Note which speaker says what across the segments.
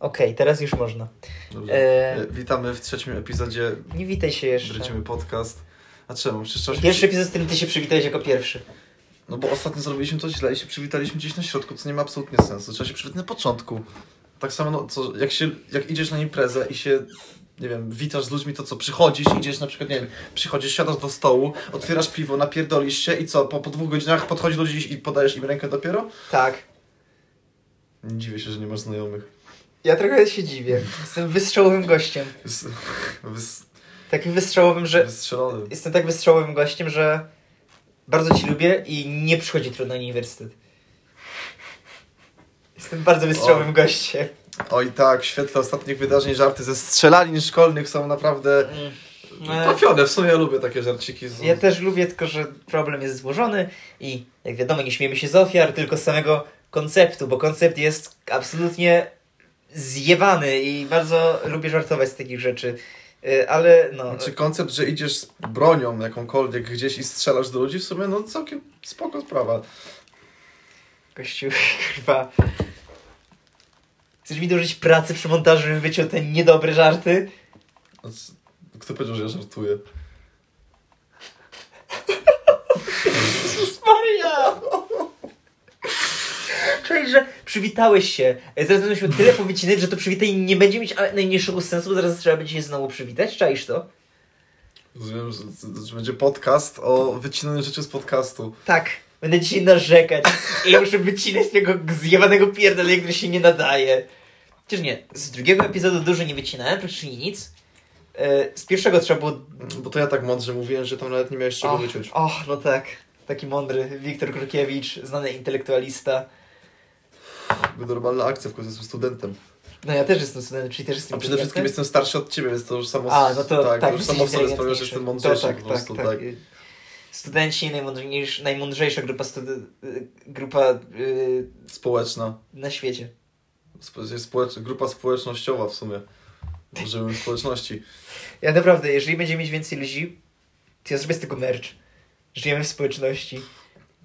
Speaker 1: Okej, teraz już można.
Speaker 2: Dobrze.
Speaker 1: E,
Speaker 2: E, Witamy w trzecim epizodzie
Speaker 1: nie witaj się jeszcze.
Speaker 2: Brycimy Podcast. A czemu? Przecież trzeba się
Speaker 1: Pierwszy epizod, z którym ty się przywitałeś jako pierwszy.
Speaker 2: przy- No bo ostatnio zrobiliśmy to źle i się przywitaliśmy gdzieś na środku, co nie ma absolutnie sensu. Trzeba się przywitać na początku. Tak samo, no, co, jak, się, jak idziesz na imprezę i się, nie wiem, witasz z ludźmi, to co, przychodzisz, idziesz na przykład, nie wiem, przychodzisz, siadasz do stołu, otwierasz piwo, napierdolisz się i co, po, po dwóch godzinach podchodzi do ludzi i podajesz im rękę dopiero?
Speaker 1: Tak.
Speaker 2: Nie dziwię się, że nie masz znajomych.
Speaker 1: Ja trochę się dziwię. Jestem wystrzałowym gościem.
Speaker 2: Wys... Wys...
Speaker 1: Takim wystrzałowym, że...
Speaker 2: Wystrzelony.
Speaker 1: Jestem tak wystrzałowym gościem, że bardzo ci lubię i nie przychodzi trudno na uniwersytet. Jestem bardzo wystrzałowym gościem.
Speaker 2: Oj tak, w świetle ostatnich wydarzeń żarty ze strzelanin szkolnych są naprawdę
Speaker 1: Mm. E,
Speaker 2: trafione. W sumie ja lubię takie żarciki. Są...
Speaker 1: Ja też lubię, tylko że problem jest złożony i jak wiadomo, nie śmiejemy się z ofiar, tylko z samego konceptu, bo koncept jest absolutnie zjewany i bardzo lubię żartować z takich rzeczy. Y, Ale no.
Speaker 2: Czy Znaczy koncept, że idziesz z bronią jakąkolwiek gdzieś i strzelasz do ludzi, w sumie no całkiem spoko sprawa.
Speaker 1: Kościół, kurwa. Chcesz mi dołożyć pracy przy montażu, żebym wyciął te niedobre żarty?
Speaker 2: No c- Kto powiedział, że ja żartuję?
Speaker 1: Jezus Maria! Cześć, że przywitałeś się. E, Zaraz będą się tyle powycinać, że to przywitanie nie będzie mieć ale najmniejszego sensu, bo zaraz trzeba będzie się znowu przywitać. Czaisz to?
Speaker 2: Rozumiem, że, że będzie podcast o wycinaniu rzeczy z podcastu.
Speaker 1: Tak, będę dzisiaj narzekać. I ja muszę wycinać tego zjebanego pierdolenia, który się nie nadaje. Chociaż nie, z drugiego epizodu dużo nie wycinałem, praktycznie nic. E, Z pierwszego trzeba było...
Speaker 2: Bo to ja tak mądrze mówiłem, że tam nawet nie miałeś czego
Speaker 1: Och,
Speaker 2: wyciąć.
Speaker 1: och, no tak. Taki mądry Wiktor Krukiewicz, znany intelektualista.
Speaker 2: Bo Normalna akcja, w końcu jestem studentem.
Speaker 1: No ja też jestem studentem, czyli też jestem
Speaker 2: A przede wszystkim
Speaker 1: inteligentem.
Speaker 2: jestem starszy od ciebie, więc to już samo,
Speaker 1: A, no to tak,
Speaker 2: tak, to już
Speaker 1: jesteś
Speaker 2: samo w sobie sprawia,
Speaker 1: inteligentniejszy.
Speaker 2: że jestem
Speaker 1: To
Speaker 2: mądrzejszy
Speaker 1: tak,
Speaker 2: po prostu.
Speaker 1: tak,
Speaker 2: Tak,
Speaker 1: tak. Studenci, najmądrzejsza, najmądrzejsza grupa, studen- y, grupa y,
Speaker 2: Społeczna.
Speaker 1: na świecie.
Speaker 2: Spo- jest społecz- grupa społecznościowa w sumie. Żyjemy w społeczności.
Speaker 1: Ja naprawdę, jeżeli będziemy mieć więcej ludzi, to ja zrobię z tego merch. Żyjemy w społeczności.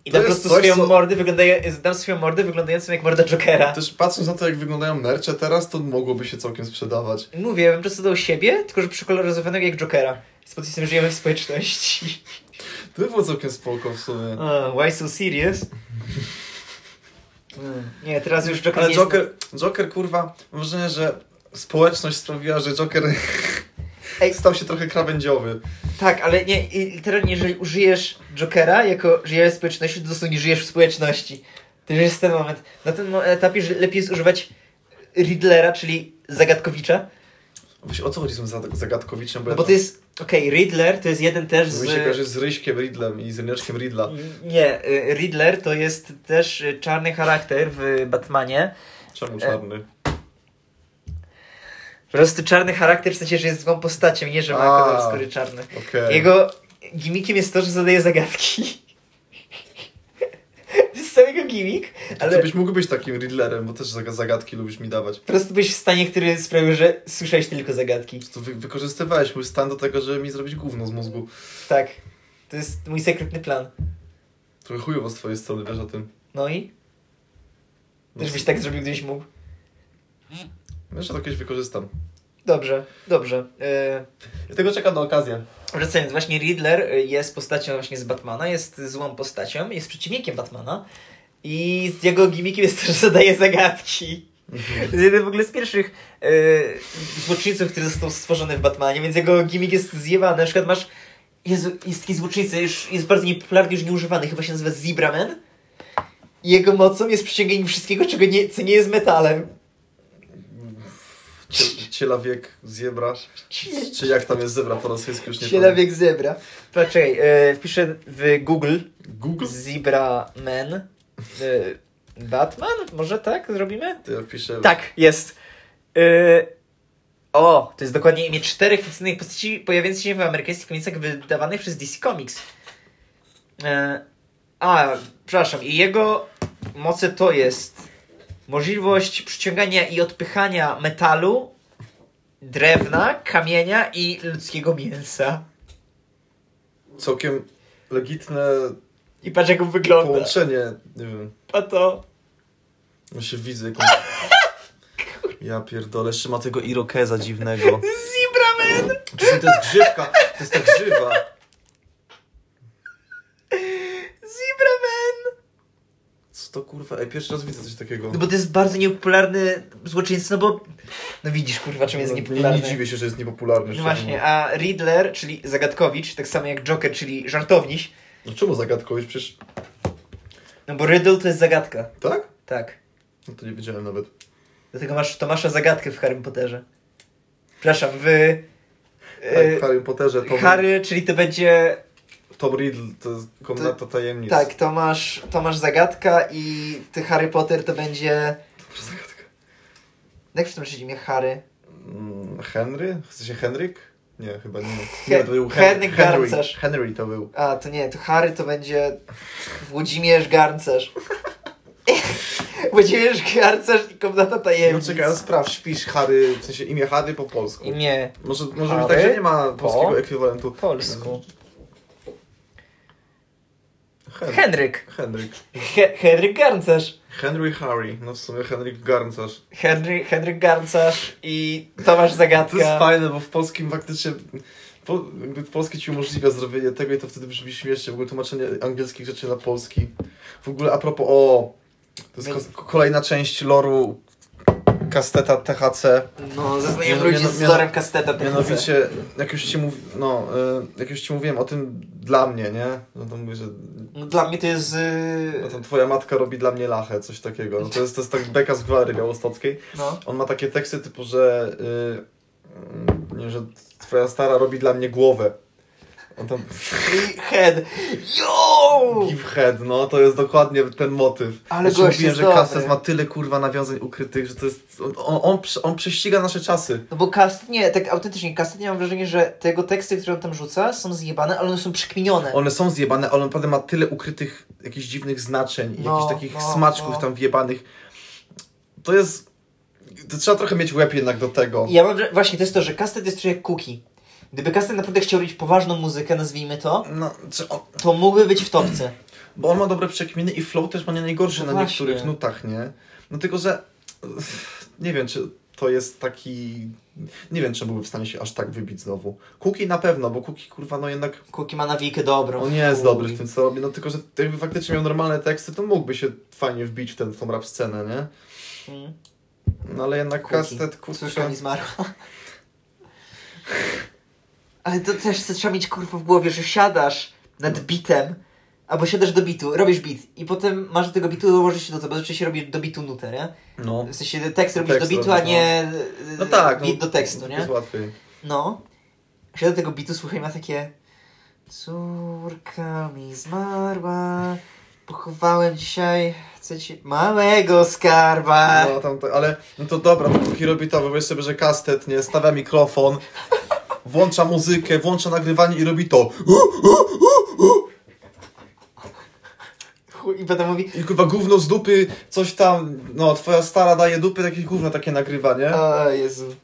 Speaker 1: I
Speaker 2: To
Speaker 1: dam po
Speaker 2: jest
Speaker 1: prostu
Speaker 2: coś,
Speaker 1: swoją
Speaker 2: co-
Speaker 1: mordę wyglądają, dam swoją mordę wyglądającą jak morda Jokera.
Speaker 2: Też patrząc na to, jak wyglądają mercze teraz, to mogłoby się całkiem sprzedawać.
Speaker 1: Mówię, ja bym po prostu dał siebie, tylko że przekoloryzowanego jak Jokera. Z podpisem żyjemy w społeczności.
Speaker 2: To by było całkiem spoko w sumie.
Speaker 1: Uh, why so serious? Mm, Nie, teraz już Joker
Speaker 2: Ale
Speaker 1: nie jest-
Speaker 2: Joker, Joker kurwa, mam wrażenie, że społeczność sprawiła, że Joker
Speaker 1: Ej.
Speaker 2: stał się trochę krawędziowy.
Speaker 1: Tak, ale nie, i literalnie jeżeli użyjesz Jokera jako żyjemy w społeczności, to dosłownie żyjesz w społeczności. To już jest ten moment. Na tym mo- etapie że lepiej jest używać Riddlera, czyli Zagadkowicza,
Speaker 2: Właśnie o co chodzi z tym zag- zagadkowiczem? Bo,
Speaker 1: no bo to jest, okej, Riddler to jest jeden też
Speaker 2: z...
Speaker 1: z...
Speaker 2: Mi się kojarzy z Ryśkiem Ridlem i z Ryniaczkiem Ridla.
Speaker 1: Nie, y, Riddler to jest też y, czarny charakter w Batmanie. E,
Speaker 2: Czemu czarny?
Speaker 1: Po prostu czarny charakter w sensie, że jest złą postacią, nie że ma
Speaker 2: A.
Speaker 1: kolor skóry czarny.
Speaker 2: Okej.
Speaker 1: Jego gimikiem jest to, że zadaje zagadki. to jest cały jego gimik,
Speaker 2: Ale...
Speaker 1: ale...
Speaker 2: byś mógł być takim Riddlerem, bo też zag- zagadki lubisz mi dawać.
Speaker 1: Po prostu byś w stanie, który sprawił, że słyszałeś tylko zagadki.
Speaker 2: To wy- wykorzystywałeś mój stan do tego, żeby mi zrobić gówno z mózgu.
Speaker 1: Tak. To jest mój sekretny plan.
Speaker 2: Trochę chujowo z twojej strony, wiesz o tym.
Speaker 1: No i?
Speaker 2: No,
Speaker 1: Też byś tak zrobił, gdybyś mógł.
Speaker 2: Wiesz, że to kiedyś wykorzystam.
Speaker 1: Dobrze, dobrze. Yy,
Speaker 2: Ja tego czekam na okazję.
Speaker 1: wracając, właśnie Riddler y, jest postacią właśnie z Batmana, jest złą postacią, jest przeciwnikiem Batmana. I z jego gimikiem jest to, że zadaje zagadki. To jest jeden w ogóle z pierwszych yy, złoczyńców, który został stworzony w Batmanie, więc jego gimik jest zjebany. Na przykład masz... Jezu, jest taki złoczyńca, już jest bardzo niepopularny, już nieużywany, chyba się nazywa Zebraman. Jego mocą jest przyciąganie wszystkiego, czego nie, co nie jest metalem.
Speaker 2: Cie, cielawiek, zebra. Czy- Czy jak tam jest zebra po rosyjsku już nie
Speaker 1: Cielawiek zebra. Poczekaj, e, wpiszę w Google
Speaker 2: pamiętam. Google?
Speaker 1: Zebra Man. E, Batman? Może tak zrobimy?
Speaker 2: To ja wpiszę.
Speaker 1: Tak, jest. E, o, to jest dokładnie imię czterech fikcyjnych postaci pojawiających się w amerykańskich komiksach wydawanych przez DC Comics. E, a, przepraszam, i jego moce to jest możliwość przyciągania i odpychania metalu, drewna, kamienia i ludzkiego mięsa.
Speaker 2: Całkiem legitne
Speaker 1: I patrz jak on wygląda.
Speaker 2: połączenie. Nie wiem.
Speaker 1: A to...
Speaker 2: No się widzę. Jaką... Ja pierdolę, jeszcze ma tego irokeza dziwnego.
Speaker 1: Zibramen!
Speaker 2: Czasem to jest grzywka, to jest ta grzywa.
Speaker 1: Zibramen!
Speaker 2: Co to kurwa? Ej, pierwszy raz widzę coś takiego.
Speaker 1: No bo to jest bardzo niepopularny złoczyńca, no bo... No widzisz, kurwa, czym jest
Speaker 2: No,
Speaker 1: niepopularny.
Speaker 2: Nie, nie dziwię się, że jest niepopularny.
Speaker 1: No
Speaker 2: szczerze
Speaker 1: właśnie,
Speaker 2: mówiąc.
Speaker 1: a Riddler, czyli Zagadkowicz, tak samo jak Joker, czyli Żartowniś,
Speaker 2: No czemu zagadkować? Przecież...
Speaker 1: no bo Riddle to jest zagadka,
Speaker 2: Tak?
Speaker 1: tak.
Speaker 2: No to nie wiedziałem nawet.
Speaker 1: Dlatego masz Tomasza zagadkę w Harry Potterze. Przepraszam, w...
Speaker 2: Tak,
Speaker 1: e,
Speaker 2: w Harry Potterze Tom,
Speaker 1: Harry, czyli to będzie...
Speaker 2: Tom Riddle to jest komnata tajemnic.
Speaker 1: Tak, Tomasz, Tomasz zagadka i ty Harry Potter to będzie...
Speaker 2: Dobra, zagadka.
Speaker 1: Jak w tym trzecim imię Harry?
Speaker 2: Mm, Henry? Chce się Henryk? Nie, chyba nie.
Speaker 1: He-
Speaker 2: nie to był
Speaker 1: Henryk
Speaker 2: Henry.
Speaker 1: Garncarz.
Speaker 2: Henry to był.
Speaker 1: A, to nie, to Harry to będzie Włodzimierz Garncerz. Włodzimierz Garncerz i Komnata
Speaker 2: No
Speaker 1: Tajemnic.
Speaker 2: czekaj, ale sprawdź, wpisz Harry, w sensie imię Harry po polsku.
Speaker 1: Imię
Speaker 2: Może, może
Speaker 1: Harry
Speaker 2: być tak, że nie ma polskiego
Speaker 1: po
Speaker 2: ekwiwalentu.
Speaker 1: polsku.
Speaker 2: Hen-
Speaker 1: Henryk.
Speaker 2: Henryk.
Speaker 1: He- Henryk Garncerz.
Speaker 2: Henry Harry. No w sumie Henryk Garncarz.
Speaker 1: Henry, Henryk Garncarz i Tomasz
Speaker 2: To jest
Speaker 1: Zagadka.
Speaker 2: fajne, bo w polskim faktycznie. Po, jakby polskie ci umożliwia zrobienie tego i to wtedy brzmi śmiesznie. W ogóle tłumaczenie angielskich rzeczy na polski. W ogóle a propos o. To jest
Speaker 1: Więc-
Speaker 2: ko- kolejna część loru kasteta THC.
Speaker 1: No, zaznajem
Speaker 2: Miano-
Speaker 1: ludzi
Speaker 2: miano-
Speaker 1: z
Speaker 2: miano-
Speaker 1: wzorem kasteta. tak chcę.
Speaker 2: Mianowicie, jak już ci mówi, no, y, jak już ci mówiłem o tym dla mnie, nie? No to mówię, że
Speaker 1: No, dla mnie to jest...
Speaker 2: no, to
Speaker 1: Yy...
Speaker 2: twoja matka robi dla mnie lachę, coś takiego. No to jest, to jest tak beka z gwary białostockiej.
Speaker 1: No.
Speaker 2: On ma takie teksty typu, że, y, nie, że twoja stara robi dla mnie głowę. On tam
Speaker 1: I Head. Yo!
Speaker 2: give head, no to jest dokładnie ten motyw.
Speaker 1: Ale
Speaker 2: Znaczy,
Speaker 1: gość
Speaker 2: mówiłem,
Speaker 1: jest
Speaker 2: że Kastet
Speaker 1: dobry.
Speaker 2: ma tyle kurwa nawiązań ukrytych, że to jest. On, on, on, prze- on prześciga nasze czasy.
Speaker 1: No bo Kast, nie, tak autentycznie, Kast, nie mam wrażenia, że te jego teksty, które on tam rzuca, są zjebane, ale one są przekminione.
Speaker 2: One są zjebane, ale on naprawdę ma tyle ukrytych jakichś dziwnych znaczeń i
Speaker 1: No,
Speaker 2: jakichś takich
Speaker 1: no,
Speaker 2: smaczków
Speaker 1: no.
Speaker 2: tam wjebanych. To jest. To trzeba trochę mieć łeb jednak do tego.
Speaker 1: Ja mam, wra- właśnie to jest to, że Kastet jest trochę jak Cookie. Gdyby Kastet naprawdę chciał robić poważną muzykę, nazwijmy to,
Speaker 2: No, czy on,
Speaker 1: to mógłby być w topce.
Speaker 2: bo on ma dobre przekminy i flow też ma nie najgorszy
Speaker 1: No
Speaker 2: na
Speaker 1: właśnie.
Speaker 2: niektórych nutach, nie? No tylko, że nie wiem, czy to jest taki... Nie wiem, czy byłby w stanie się aż tak wybić znowu. Kuki na pewno, bo Kuki kurwa, no jednak
Speaker 1: Cookie ma nawijkę dobrą.
Speaker 2: on nie jest
Speaker 1: Chuj.
Speaker 2: dobry w tym, co robi. No tylko, że jakby faktycznie miał normalne teksty, to mógłby się fajnie wbić w, ten, w tą rap scenę, nie?
Speaker 1: Mm.
Speaker 2: No ale jednak
Speaker 1: Kuki.
Speaker 2: kastet,
Speaker 1: Córka
Speaker 2: kurczę...
Speaker 1: mi zmarła. Ale to też co trzeba mieć kurwa w głowie, że siadasz nad
Speaker 2: No.
Speaker 1: bitem, albo siadasz do bitu, robisz bit i potem masz do tego bitu, ułożysz się do tego, oczywiście robisz do bitu nutę, nie?
Speaker 2: No.
Speaker 1: W sensie tekst robisz
Speaker 2: Tekst
Speaker 1: do bitu, a
Speaker 2: robisz,
Speaker 1: nie
Speaker 2: No tak.
Speaker 1: bit
Speaker 2: no,
Speaker 1: do tekstu, nie?
Speaker 2: Jest łatwiej.
Speaker 1: No. Siedzę do tego bitu, słuchaj, ma takie... Córka mi zmarła, pochowałem dzisiaj chcę ci małego skarba.
Speaker 2: No, tam, tak, ale no to dobra, to póki robi to, wyobraź sobie, że kastet, nie, stawia mikrofon, włącza muzykę, włącza nagrywanie i robi to.
Speaker 1: Chuj, I potem mówi...
Speaker 2: I kurwa gówno z dupy, coś tam, no twoja stara daje dupy, takie gówno takie nagrywanie.
Speaker 1: O Jezu.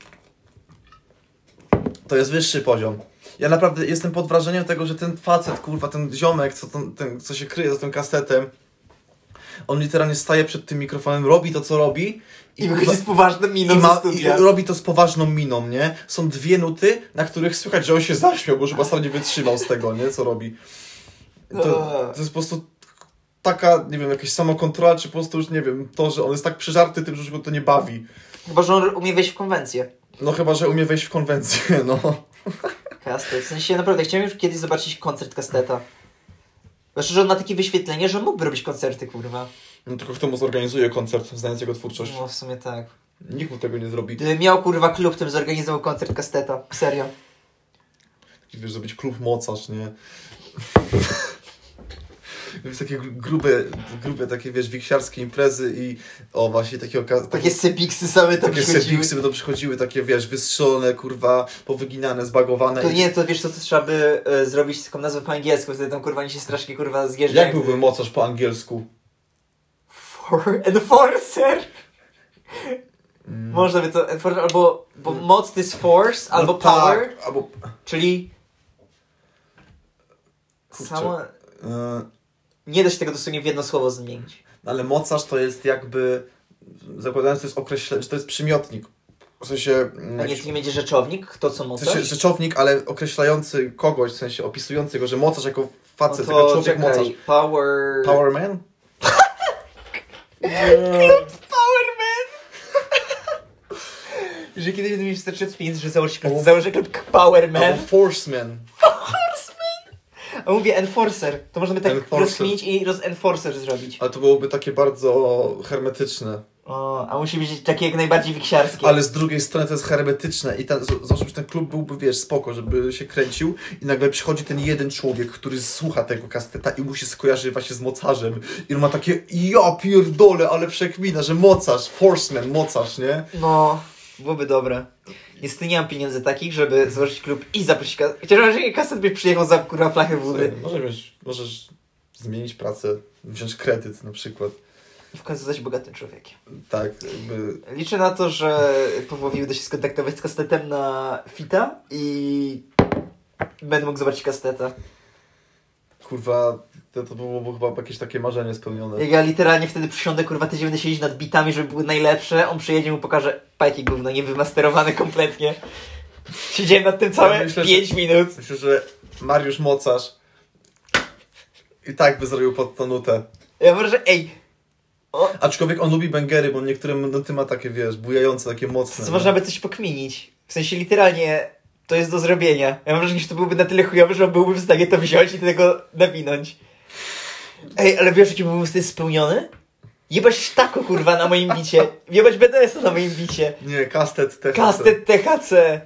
Speaker 2: To jest wyższy poziom. Ja naprawdę jestem pod wrażeniem tego, że ten facet, kurwa, ten ziomek, co, ten, ten, co się kryje za tym kastetem, on literalnie staje przed tym mikrofonem, robi to, co robi
Speaker 1: I
Speaker 2: kurwa,
Speaker 1: wychodzi z poważnym miną
Speaker 2: I,
Speaker 1: ze
Speaker 2: ma, I
Speaker 1: studia.
Speaker 2: robi to z poważną miną, nie? Są dwie nuty, na których słychać, że on się zaśmiał, bo już chyba sam nie wytrzymał z tego, nie? Co robi. To, to jest po prostu taka, nie wiem, jakaś samokontrola, czy po prostu już, nie wiem, to, że on jest tak przyżarty tym, że już go to nie bawi.
Speaker 1: Chyba, że on umie wejść w konwencję.
Speaker 2: No chyba, że umie wejść w konwencję, no.
Speaker 1: Kastet. W sensie naprawdę chciałem już kiedyś zobaczyć koncert Kasteta. Zwłaszcza, że on ma takie wyświetlenie, że mógłby robić koncerty, kurwa.
Speaker 2: no tylko kto mu zorganizuje koncert, znając jego twórczość?
Speaker 1: No w sumie tak.
Speaker 2: Nikt mu tego nie zrobi.
Speaker 1: Gdyby miał kurwa klub, tym zorganizował koncert Kasteta. Serio.
Speaker 2: Taki, Wiesz, zrobić klub mocarz, nie? Wiesz, takie gru- grube, grube takie, wiesz, wiksiarskie imprezy i o, właśnie takie okazje.
Speaker 1: Takie sepiksy same tam
Speaker 2: Takie
Speaker 1: przychodziły.
Speaker 2: serwiksy będą przychodziły, takie wiesz, wystrzelone, kurwa, powyginane, zbagowane.
Speaker 1: To
Speaker 2: No i-
Speaker 1: nie, to wiesz co, to trzeba by e, zrobić taką nazwę po angielsku, wtedy tam kurwa nie się strasznie kurwa zjeżdżają.
Speaker 2: Jak byłby mocarz po angielsku?
Speaker 1: For... Enforcer! Można by to, enforcer, albo, bo moc to jest force, albo
Speaker 2: Mm. No tak,
Speaker 1: power,
Speaker 2: albo...
Speaker 1: czyli...
Speaker 2: Kurczę.
Speaker 1: Samo...
Speaker 2: Yy, no
Speaker 1: Nie da się tego dosłownie w jedno słowo zmienić.
Speaker 2: ale mocarz to jest jakby zakładając, to jest określe, że to jest przymiotnik. W sensie... mm,
Speaker 1: A nie,
Speaker 2: jakiś-
Speaker 1: ty nie będzie rzeczownik, kto co mu
Speaker 2: w sensie
Speaker 1: coś?
Speaker 2: rzeczownik, ale określający kogoś, w sensie opisujący go, że mocarz jako
Speaker 1: No
Speaker 2: facet, jako człowiek
Speaker 1: czekaj,
Speaker 2: mocarz.
Speaker 1: Power...
Speaker 2: Power Man?
Speaker 1: Powerman! że kiedyś będę mieć wystarczająco pieniędzy, że założę, klub- założę klub Powerman.
Speaker 2: Albo Force Man.
Speaker 1: A mówię Enforcer. To możemy tak
Speaker 2: Enforcer.
Speaker 1: rozkminić i roz-Enforcer zrobić.
Speaker 2: Ale to byłoby takie bardzo hermetyczne.
Speaker 1: O, a musi być takie jak najbardziej wiksiarskie.
Speaker 2: Ale z drugiej strony to jest hermetyczne i ten, z- zawsze ten klub byłby, wiesz, spoko, żeby się kręcił i nagle przychodzi ten jeden człowiek, który słucha tego kasteta i mu się skojarzy właśnie z mocarzem i on ma takie, ja pierdolę, ale przekmina, że mocarz, Forceman, mocarz, nie?
Speaker 1: No, byłoby dobre. Niestety nie mam pieniędzy takich, żeby założyć klub i zaprosić kaset. Chociaż może kaset by przyjechał za kurwa flachę wody.
Speaker 2: Możesz, mieć- możesz zmienić pracę, wziąć kredyt na przykład.
Speaker 1: W końcu zaś bogatym człowiekiem.
Speaker 2: Tak, jakby...
Speaker 1: Liczę na to, że Pawłowi uda się skontaktować z kastetem na fita i będę mógł zobaczyć kasteta.
Speaker 2: Kurwa, to, to było chyba jakieś takie marzenie spełnione.
Speaker 1: Jak ja literalnie wtedy przysiądę, kurwa, tydzień będę siedzieć nad bitami, żeby były najlepsze, on przyjedzie, mu pokaże pajki gówno, niewymasterowane kompletnie. Siedziałem nad tym całe
Speaker 2: Ja myślę, że-
Speaker 1: 5 minut.
Speaker 2: Myślę, że Mariusz Mocarz i tak by zrobił pod tą nutę.
Speaker 1: Ja może, że ej,
Speaker 2: Aczkolwiek on lubi bęgery, bo niektóre nuty ma takie, wiesz, bujające, takie mocne.
Speaker 1: Co
Speaker 2: nie?
Speaker 1: można by coś pokminić. W sensie literalnie to jest do zrobienia. Ja mam wrażenie, że to byłby na tyle chujowy, że on byłby w stanie to wziąć i tego nawinąć. Ej, ale wiesz, jaki byłbym wtedy spełniony? Jebać tako kurwa na moim bicie. Jebać BDS-a na moim bicie.
Speaker 2: Nie, kastet, te
Speaker 1: Kastet
Speaker 2: tak.
Speaker 1: THC.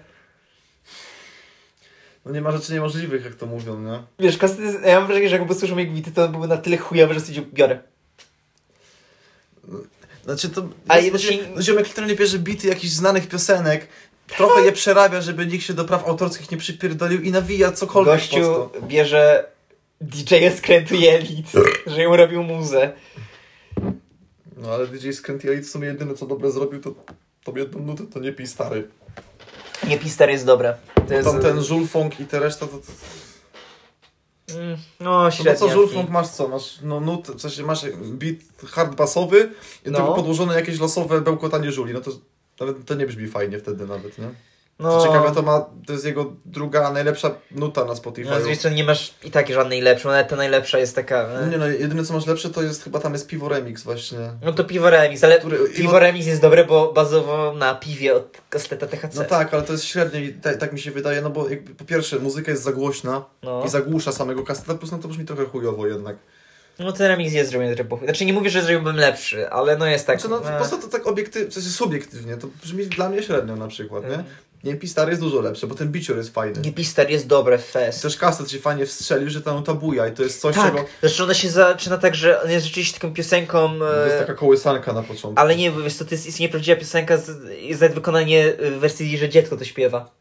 Speaker 2: No nie ma rzeczy niemożliwych, jak to mówią, nie?
Speaker 1: Wiesz, kastet jest... Ja mam wrażenie, że jakby słyszał moje gwity, to on byłby na tyle chujowy, że stwierdził, biorę.
Speaker 2: Znaczy to...
Speaker 1: Ale
Speaker 2: jest-
Speaker 1: jednocześnie-
Speaker 2: no Ziomek literalnie bierze bity jakichś znanych piosenek, trochę je przerabia, żeby nikt się do praw autorskich nie przypierdolił i nawija cokolwiek pod
Speaker 1: Gościu
Speaker 2: to.
Speaker 1: bierze DJ-a skrętu jelit, że ją robił muzę.
Speaker 2: No ale DJ Skręt i Elite w sumie jedyne, co dobre zrobił, to tą jedną nutę to nie pij stary.
Speaker 1: Nie, Pister jest dobre. To jest...
Speaker 2: Tam ten Żulfong i te reszta to... to...
Speaker 1: Mm, No,
Speaker 2: No
Speaker 1: średnia.
Speaker 2: bo co, żulfunk masz co? Masz no, nut, w sensie masz beat hard basowy i do
Speaker 1: No.
Speaker 2: tego podłożone jakieś losowe bełkotanie żuli. No to nawet to nie brzmi fajnie wtedy nawet, nie?
Speaker 1: No,
Speaker 2: Co ciekawe, to ma, to jest jego druga najlepsza nuta na Spotify.
Speaker 1: No, z drugiej strony nie masz i tak żadnej lepszej, ale ta najlepsza jest taka. e,
Speaker 2: No, nie no, jedyne co masz lepsze to jest chyba tam jest piwo remix właśnie.
Speaker 1: No to piwo remis, ale
Speaker 2: Który-
Speaker 1: piwo remis jest dobre, bo bazowo na piwie od kasteta THC.
Speaker 2: No tak, ale to jest średnie i ta, tak mi się wydaje, no bo jakby, po pierwsze muzyka jest za głośna
Speaker 1: No.
Speaker 2: i zagłusza samego kasteta, plus no to brzmi trochę chujowo jednak.
Speaker 1: No ten remis jest zrobiony trochę po chuj. Znaczy nie mówię, że zrobiłbym lepszy, ale no jest tak.
Speaker 2: Znaczy, no, po
Speaker 1: e,
Speaker 2: prostu to tak obiektywnie, w sensie subiektywnie, to brzmi dla mnie średnio na przykład, nie? Nie, Pistar jest dużo lepsze, bo ten bicior jest fajny.
Speaker 1: E. Nie Pister jest dobre w fest.
Speaker 2: Też kastet się fajnie wstrzelił, że tam ta buja i to jest coś,
Speaker 1: Tak,
Speaker 2: czego...
Speaker 1: zresztą ona się zaczyna tak, że on jest rzeczywiście taką piosenką.
Speaker 2: To jest
Speaker 1: E...
Speaker 2: taka kołysanka na początku.
Speaker 1: Ale nie, bo wiesz co, to jest istnieje prawdziwa piosenka z, jest nawet wykonanie e, w wersji, że dziecko to śpiewa.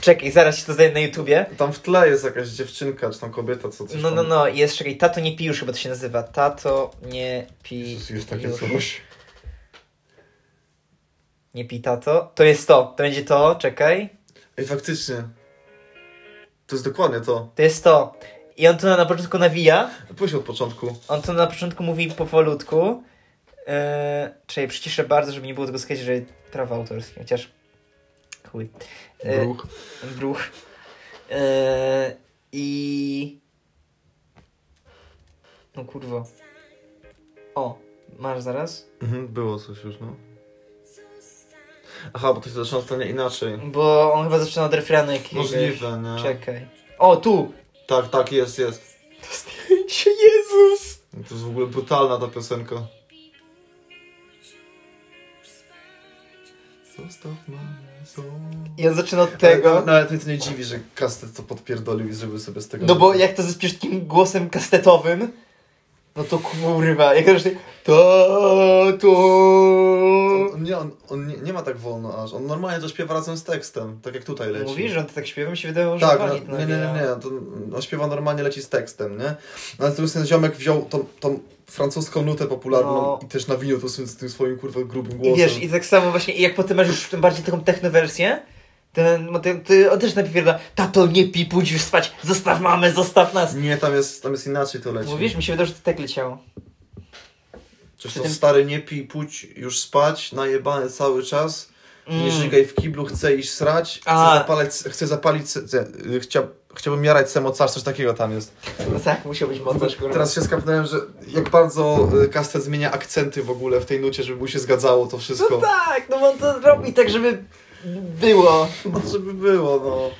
Speaker 1: Czekaj, zaraz się to znajdę na YouTubie.
Speaker 2: Tam w tle jest jakaś dziewczynka, czy tam kobieta, co coś
Speaker 1: No,
Speaker 2: tam...
Speaker 1: no, no, jest, czekaj, Tato nie pij już chyba to się nazywa. Tato nie pij
Speaker 2: Jezus, jest takie
Speaker 1: już.
Speaker 2: coś.
Speaker 1: Nie pij tato. To jest to, to będzie to, czekaj.
Speaker 2: Ej, faktycznie. To jest dokładnie to.
Speaker 1: To jest to. I on to na początku nawija,
Speaker 2: Pójdź od początku.
Speaker 1: on to na początku mówi powolutku. Eee, czekaj, przyciszę bardzo, żeby nie było tego skać, że prawa autorskie, chociaż... Chuj. Eee,
Speaker 2: Bruch.
Speaker 1: Bruch. Eee, I... No kurwa. O, masz zaraz?
Speaker 2: Mhm, było coś już, no. Aha, bo to się zaczyna totalnie inaczej.
Speaker 1: Bo on chyba zaczyna od refrenu jakiegoś.
Speaker 2: Możliwe, nie?
Speaker 1: Czekaj. O, tu!
Speaker 2: Tak, tak, jest, jest.
Speaker 1: To zdjęcie, Jezus!
Speaker 2: No To jest w ogóle brutalna ta piosenka. Zostaw mamę, No, zostaw...
Speaker 1: I on zaczyna od tego.
Speaker 2: Nawet mnie to nie dziwi, że kastet to podpierdolił i zrobił sobie z tego.
Speaker 1: No bo jak to zaśpiewasz takim głosem kastetowym, no to kurwa, jak to już tak, to, to...
Speaker 2: On, nie, on, on nie, nie ma tak wolno aż. On normalnie to śpiewa razem z tekstem, tak jak tutaj leci.
Speaker 1: Mówisz, że on to tak śpiewa, mi się wydawało, że
Speaker 2: Tak,
Speaker 1: wali
Speaker 2: no,
Speaker 1: to
Speaker 2: nie, nie, nie,
Speaker 1: nawijało.
Speaker 2: nie. To, on śpiewa normalnie, leci z tekstem, nie? No, Ale tu ten ziomek wziął tą, tą francuską nutę popularną
Speaker 1: No.
Speaker 2: i też nawinił to z tym swoim kurwa grubym
Speaker 1: I
Speaker 2: głosem.
Speaker 1: wiesz, i tak samo właśnie, i jak potem masz już tym bardziej taką technowersję, ten, no ten, ty, on też napierda, tato nie pij, pójdź już spać, zostaw mamę, zostaw nas.
Speaker 2: Nie, tam jest, tam jest inaczej to leci.
Speaker 1: Mówisz, mi się wydawało, że to tak leciało.
Speaker 2: Coś
Speaker 1: Przy
Speaker 2: to
Speaker 1: tym-
Speaker 2: stary nie pij, pójdź już spać, najebany cały czas. Nie żygaj w kiblu, chcę iść srać, chcę
Speaker 1: Mm. A.
Speaker 2: zapalić, chcę zapalić, se- se- y, chcia, chciałbym jarać semocarz, coś takiego tam jest.
Speaker 1: No tak, musiał być mocarz, kurwa.
Speaker 2: Teraz się skapnąłem, że jak bardzo y, Kastet zmienia akcenty w ogóle w tej nucie, żeby mu się zgadzało to
Speaker 1: No
Speaker 2: wszystko.
Speaker 1: tak, no bo on to robi tak, żeby było.
Speaker 2: No żeby było, no.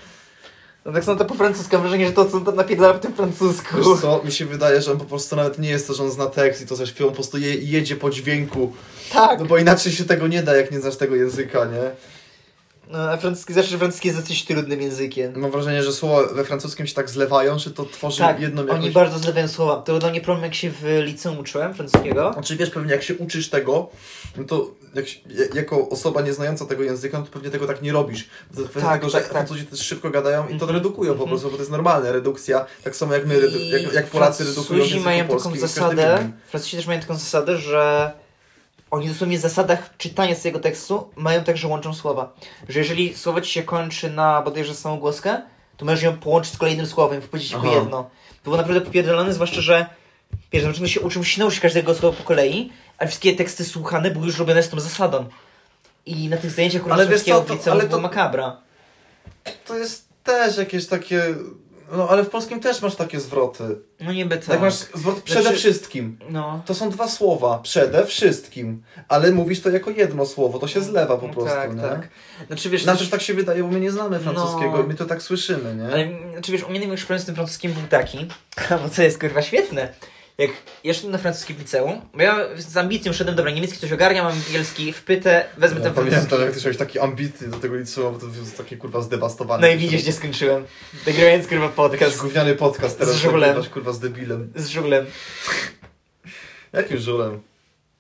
Speaker 1: No tak są to po francusku, mam wrażenie, że to co on tam napierdala w tym francusku.
Speaker 2: Wiesz co, mi się wydaje, że on po prostu nawet nie jest to, że on zna tekst i to ze śpiewą, po prostu je, jedzie po dźwięku.
Speaker 1: Tak.
Speaker 2: No bo inaczej się tego nie da, jak nie znasz tego języka, nie?
Speaker 1: No, a francuski, zawsze francuski jest dosyć trudnym językiem.
Speaker 2: Mam wrażenie, że słowa we francuskim się tak zlewają, że to tworzy
Speaker 1: Tak,
Speaker 2: jedną
Speaker 1: oni
Speaker 2: jakąś...
Speaker 1: bardzo zlewają słowa. To był dla mnie problem, jak się w liceum uczyłem francuskiego.
Speaker 2: Znaczy wiesz, pewnie jak się uczysz tego, no to jak, się- je- jako osoba nieznająca tego języka, no to pewnie tego tak nie robisz. To kwestia
Speaker 1: Tak,
Speaker 2: tego, że
Speaker 1: tak, tak.
Speaker 2: Francuzi też szybko gadają i to
Speaker 1: Mhm.
Speaker 2: redukują po
Speaker 1: Mhm.
Speaker 2: prostu, bo to jest normalne, redukcja, tak samo jak my, redu-
Speaker 1: I
Speaker 2: jak, jak Polacy
Speaker 1: Francuzi
Speaker 2: redukują w języku
Speaker 1: mają
Speaker 2: polskim.
Speaker 1: taką
Speaker 2: i w każdym
Speaker 1: zasadę,
Speaker 2: innym.
Speaker 1: Francuzi też mają taką zasadę, że oni dosłownie w zasadach czytania z tego tekstu mają tak, że łączą słowa. Że jeżeli słowo ci się kończy na bodajże samogłoskę, to możesz ją połączyć z kolejnym słowem, wpłacić tylko
Speaker 2: Aha.
Speaker 1: jedno. To było naprawdę popierdolone, zwłaszcza, że wiesz, na początku się uczył, ścinał się każdego słowa po kolei, a wszystkie teksty słuchane były już robione z tą zasadą. I na tych zajęciach
Speaker 2: Ale wiesz co,
Speaker 1: kurwa w
Speaker 2: to-
Speaker 1: liceum
Speaker 2: ale
Speaker 1: to... było
Speaker 2: to-
Speaker 1: makabra.
Speaker 2: To jest też jakieś takie... No ale w polskim też masz takie zwroty.
Speaker 1: No niby tak.
Speaker 2: Jak masz zwrot przede
Speaker 1: Znaczy-
Speaker 2: wszystkim.
Speaker 1: No.
Speaker 2: To są dwa słowa, przede wszystkim, ale mówisz to jako jedno słowo, to się zlewa po
Speaker 1: No
Speaker 2: prostu,
Speaker 1: tak,
Speaker 2: nie?
Speaker 1: tak. Znaczy wiesz,
Speaker 2: Nam też tak się wydaje, bo my nie znamy francuskiego
Speaker 1: No.
Speaker 2: i my to tak słyszymy, nie?
Speaker 1: Ale znaczy wiesz, u mnie największy problem z tym francuskim był taki, bo co jest kurwa świetne, jak ja szedłem na francuskim liceum, bo ja z ambicją szedłem, dobra, niemiecki coś ogarnia, mam angielski wpytę, wezmę
Speaker 2: Ja
Speaker 1: ten francuski.
Speaker 2: No, pamiętam, jak ty miałeś taki ambitny do tego liceum, bo to jest takie kurwa zdewastowane.
Speaker 1: No i widzisz, nie skończyłem. Nagrywając kurwa
Speaker 2: Jakiś
Speaker 1: podcast
Speaker 2: gówniany podcast teraz,
Speaker 1: Z żulem.
Speaker 2: nagrywasz, kurwa z debilem.
Speaker 1: z żuglem,
Speaker 2: Jakim żulem?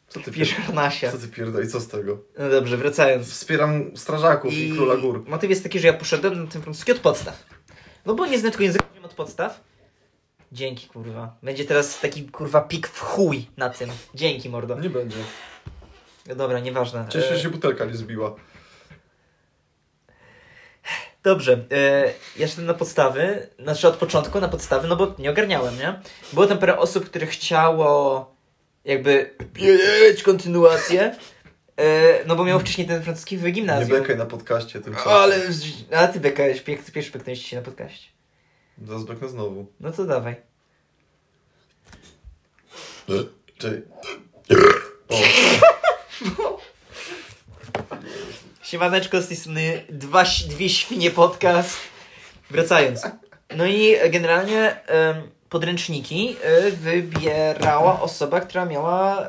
Speaker 2: Co ty
Speaker 1: pijesz
Speaker 2: pierdolisz?
Speaker 1: harnasia.
Speaker 2: Co ty pierdolisz? I co z tego?
Speaker 1: No dobrze, wracając.
Speaker 2: Wspieram strażaków i, króla gór.
Speaker 1: Motyw jest taki, że ja poszedłem na ten francuski od podstaw. No bo nie znam tylko języka, wiem od podstaw. Dzięki kurwa. Będzie teraz taki kurwa pik w chuj na tym. Dzięki mordo.
Speaker 2: Nie będzie.
Speaker 1: No Dobra, nieważne.
Speaker 2: Cieszę się,
Speaker 1: E,
Speaker 2: że się butelka nie zbiła.
Speaker 1: Dobrze, e, ja szedłem na podstawy, znaczy od początku na podstawy, no bo nie ogarniałem, nie? Było tam parę osób, które chciało jakby mieć kontynuację, e, no bo miało wcześniej ten francuski w
Speaker 2: Nie
Speaker 1: gimnazjum.
Speaker 2: bekaj na podcaście tym czasem.
Speaker 1: Ale, a ty bekałeś, piek- pierwszy beknąłeś się na podcaście.
Speaker 2: Zaraz beknę znowu.
Speaker 1: No to dawaj. E-
Speaker 2: Czyli...
Speaker 1: Siemaneczko, z tej strony dwa, ś- dwie świnie podcast. Wracając. No i e, generalnie em, podręczniki e, wybierała osoba, która miała e,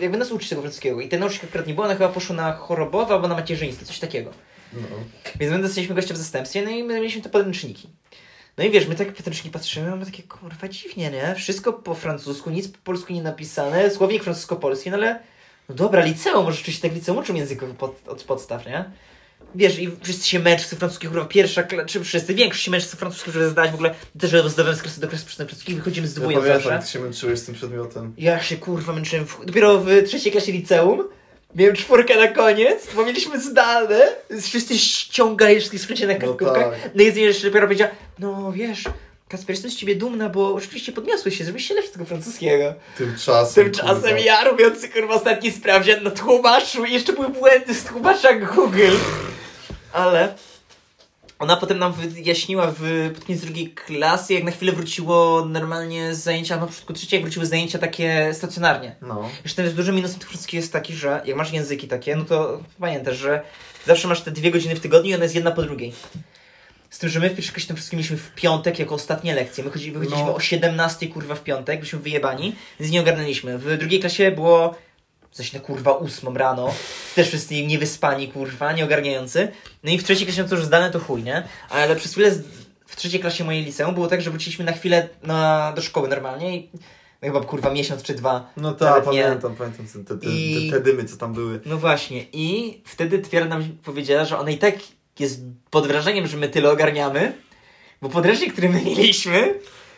Speaker 1: jakby nas uczyć tego francuskiego. I ten nauczyciel akurat nie była, ona chyba poszła na chorobowe albo na macierzyństwo, coś takiego.
Speaker 2: No.
Speaker 1: Więc my dostaliśmy gościa w zastępstwie, no i my mieliśmy te podręczniki. No i wiesz, my tak podręczniki patrzymy, mamy takie, kurwa, dziwnie, nie? Wszystko po francusku, nic po polsku nie napisane, słownik francusko-polski, no ale... No dobra, liceum, może rzeczywiście tak liceum uczą języków pod, od podstaw, nie? Wiesz, i wszyscy się męczą francuskich, kurwa, pierwsza, kla- czy wszyscy, większość się męczy francuskich, żeby zdać w ogóle, też że zdawałem z kresu do kresu przez francuski, wychodzimy z
Speaker 2: Ja
Speaker 1: dwójką
Speaker 2: pamiętam,
Speaker 1: zawsze.
Speaker 2: jak ty się męczyłeś z tym przedmiotem.
Speaker 1: Ja się kurwa męczyłem. W... Dopiero w trzeciej klasie liceum miałem czwórkę na koniec, bo mieliśmy zdane. Wszyscy ściągali wszystkich skrócie na
Speaker 2: No
Speaker 1: kartkówkach.
Speaker 2: tak.
Speaker 1: No i z jeszcze dopiero powiedziała, no wiesz, Kasper, jestem z ciebie dumna, bo rzeczywiście podniosłeś się, zrobiłeś się lepszy tego francuskiego.
Speaker 2: Tymczasem,
Speaker 1: Tymczasem
Speaker 2: kurwa.
Speaker 1: ja robiący kurwa ostatni sprawdzian na tłumaczu i jeszcze były błędy z tłumacza Google. Ale ona potem nam wyjaśniła w pod koniec drugiej klasy, jak na chwilę wróciło normalnie zajęcia, na początku trzeciej jak wróciły zajęcia takie stacjonarnie.
Speaker 2: No.
Speaker 1: Zresztą jest dużym minusem tych wszystkich jest taki, że jak masz języki takie, no to pamiętasz, że zawsze masz te dwie godziny w tygodniu i ona jest jedna po drugiej. Z tym, że my w pierwszej klasie tym wszystkim mieliśmy w piątek jako ostatnie lekcje. My chodzi- wychodziliśmy
Speaker 2: No.
Speaker 1: o 17 kurwa w piątek, byliśmy wyjebani, więc nie ogarnęliśmy. W drugiej klasie było coś na kurwa ósmą rano, też wszyscy niewyspani kurwa, nieogarniający. No i w trzeciej klasie no to już zdane to chuj, nie? Ale przez chwilę z... w trzeciej klasie mojej liceum było tak, że wróciliśmy na chwilę na... do szkoły normalnie i no chyba kurwa miesiąc czy dwa
Speaker 2: No tak,
Speaker 1: Nawet nie.
Speaker 2: pamiętam, pamiętam te, te, te,
Speaker 1: I-
Speaker 2: te dymy, co tam były.
Speaker 1: No właśnie, i wtedy Twiera nam powiedziała, że ona i tak jest pod wrażeniem, że my tyle ogarniamy, bo podręcznik, który my mieliśmy,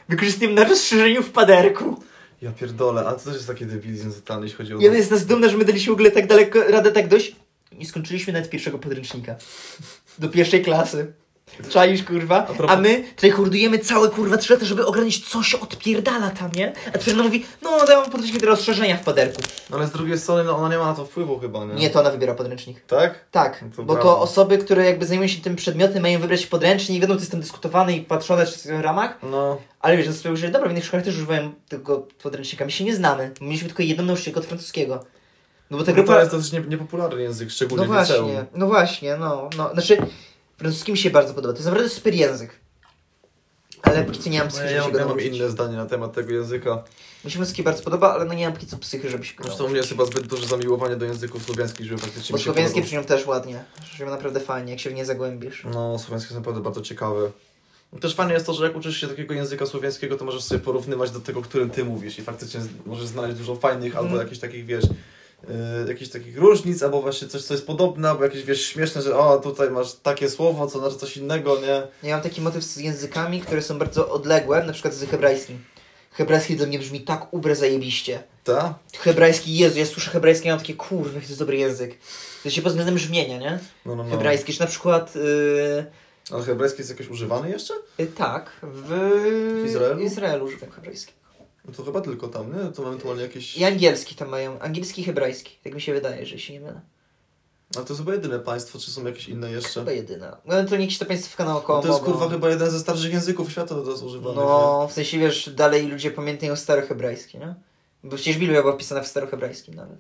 Speaker 1: wykorzystujemy na rozszerzeniu w paderku.
Speaker 2: Ja pierdolę, a to też jest taki debilizm totalny, jeśli chodzi o...
Speaker 1: I ona jest nas dumna, że my daliśmy w ogóle tak daleko, radę tak dość. I skończyliśmy nawet pierwszego podręcznika. Do pierwszej klasy. Czaisz, kurwa? A,
Speaker 2: propos-
Speaker 1: my tutaj hurdujemy całe, kurwa, trzy lata, żeby ograniczyć, co się odpierdala tam, nie? A ty nam mówi, no, dałem podręcznik do rozszerzenia w paderku.
Speaker 2: No ale z drugiej strony no, ona nie ma na to wpływu chyba, nie?
Speaker 1: Nie, to ona wybiera podręcznik.
Speaker 2: Tak?
Speaker 1: Tak,
Speaker 2: To
Speaker 1: bo
Speaker 2: brawo.
Speaker 1: to osoby, które jakby zajmują się tym przedmiotem, mają wybrać podręcznik, wiadomo, to jest tam dyskutowane i patrzone w wszystkich ramach,
Speaker 2: No,
Speaker 1: ale wiesz, no sobie że dobra, w innych szkołach też używają tego podręcznika, my się nie znamy. Mieliśmy tylko jedną nauczycielkę od francuskiego. No bo ta
Speaker 2: no
Speaker 1: grupa...
Speaker 2: to jest dosyć nie, niepopularny język, szczególnie
Speaker 1: No
Speaker 2: w liceum.
Speaker 1: właśnie, no właśnie, no, no. Znaczy, francuski mi się bardzo podoba. To jest naprawdę super język. Ale póki co nie mam
Speaker 2: No,
Speaker 1: psychy,
Speaker 2: ja,
Speaker 1: żeby
Speaker 2: ja,
Speaker 1: się
Speaker 2: ja
Speaker 1: go
Speaker 2: mam
Speaker 1: nauczyć.
Speaker 2: inne zdanie na temat tego języka.
Speaker 1: Mi się francuski bardzo podoba, ale no nie mam póki co psychy, żeby się go
Speaker 2: Zresztą u
Speaker 1: nauczyć.
Speaker 2: mnie jest chyba zbyt duże zamiłowanie do języków słowiańskich, żeby faktycznie
Speaker 1: Bo
Speaker 2: mi się
Speaker 1: słowiańskie
Speaker 2: podobał.
Speaker 1: brzmią też ładnie. Brzmią naprawdę fajnie, jak się w nie zagłębisz.
Speaker 2: No, słowiańskie są naprawdę bardzo ciekawe. Też fajne jest to, że jak uczysz się takiego języka słowiańskiego, to możesz sobie porównywać do tego, którym ty mówisz i faktycznie z- możesz znaleźć dużo fajnych albo
Speaker 1: Mhm.
Speaker 2: jakichś takich, wiesz, yy, jakichś takich różnic, albo właśnie coś, co jest podobne, albo jakieś, wiesz, śmieszne, że o, tutaj masz takie słowo, co znaczy coś innego, nie?
Speaker 1: Ja mam taki motyw z językami, które są bardzo odległe, na przykład z hebrajskim. Hebrajski dla mnie brzmi tak ubre zajebiście.
Speaker 2: Ta?
Speaker 1: Hebrajski, Jezu, ja słyszę hebrajski, ja mam takie, kurwa, jaki to jest dobry język. To się pod względem brzmienia, nie?
Speaker 2: No, no, no.
Speaker 1: Hebrajski, czy na przykład... Yy...
Speaker 2: Ale hebrajski jest jakoś używany jeszcze?
Speaker 1: Y, Tak, w
Speaker 2: W Izraelu?
Speaker 1: Izraelu używam hebrajskiego.
Speaker 2: No to chyba tylko tam, nie? To ewentualnie jakieś...
Speaker 1: I angielski tam mają, angielski i hebrajski, tak mi się wydaje, że się nie mylę.
Speaker 2: Ale to jest chyba jedyne państwo, czy są jakieś inne jeszcze?
Speaker 1: Chyba jedyna. No to niech się to państwo naokoło
Speaker 2: No to jest
Speaker 1: mogą.
Speaker 2: kurwa chyba jeden ze starszych języków świata do teraz używany.
Speaker 1: No, w sensie wiesz, dalej ludzie pamiętają starohebrajski, nie? Bo przecież Biblia była wpisana w starohebrajskim nawet.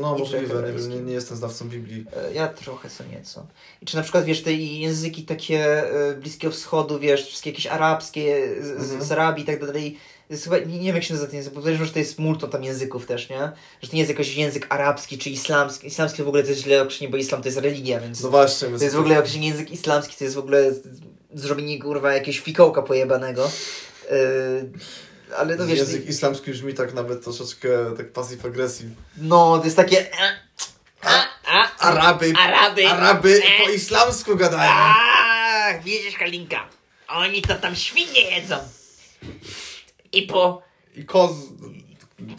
Speaker 2: No
Speaker 1: I
Speaker 2: możliwe, nie, wiem,
Speaker 1: hebrajski.
Speaker 2: nie, nie jestem znawcą Biblii.
Speaker 1: E, Ja trochę co nieco. I czy na przykład wiesz, te języki takie e, Bliskiego Wschodu, wiesz, wszystkie jakieś arabskie, z,
Speaker 2: Mhm.
Speaker 1: z, z Arabii i tak dalej. Jest chyba, nie, nie wiem jak się nazywa ten język, bo podejrzewam, że to jest multum tam języków też, nie? Że to nie jest jakoś język arabski czy islamski. Islamski to w ogóle to jest źle określenie, bo islam to jest religia, więc...
Speaker 2: No właśnie,
Speaker 1: To jest w ogóle określenie język islamski, to jest w ogóle z- zrobienie kurwa jakiegoś fikołka pojebanego. Yy, ale no wiesz,
Speaker 2: język islamski brzmi tak nawet troszeczkę tak passive aggressive.
Speaker 1: no to jest takie... A, a,
Speaker 2: Araby,
Speaker 1: Araby! E,
Speaker 2: Araby po islamsku gadają.
Speaker 3: A, widzisz Kalinka, oni to tam świnie jedzą. I po
Speaker 2: I koz...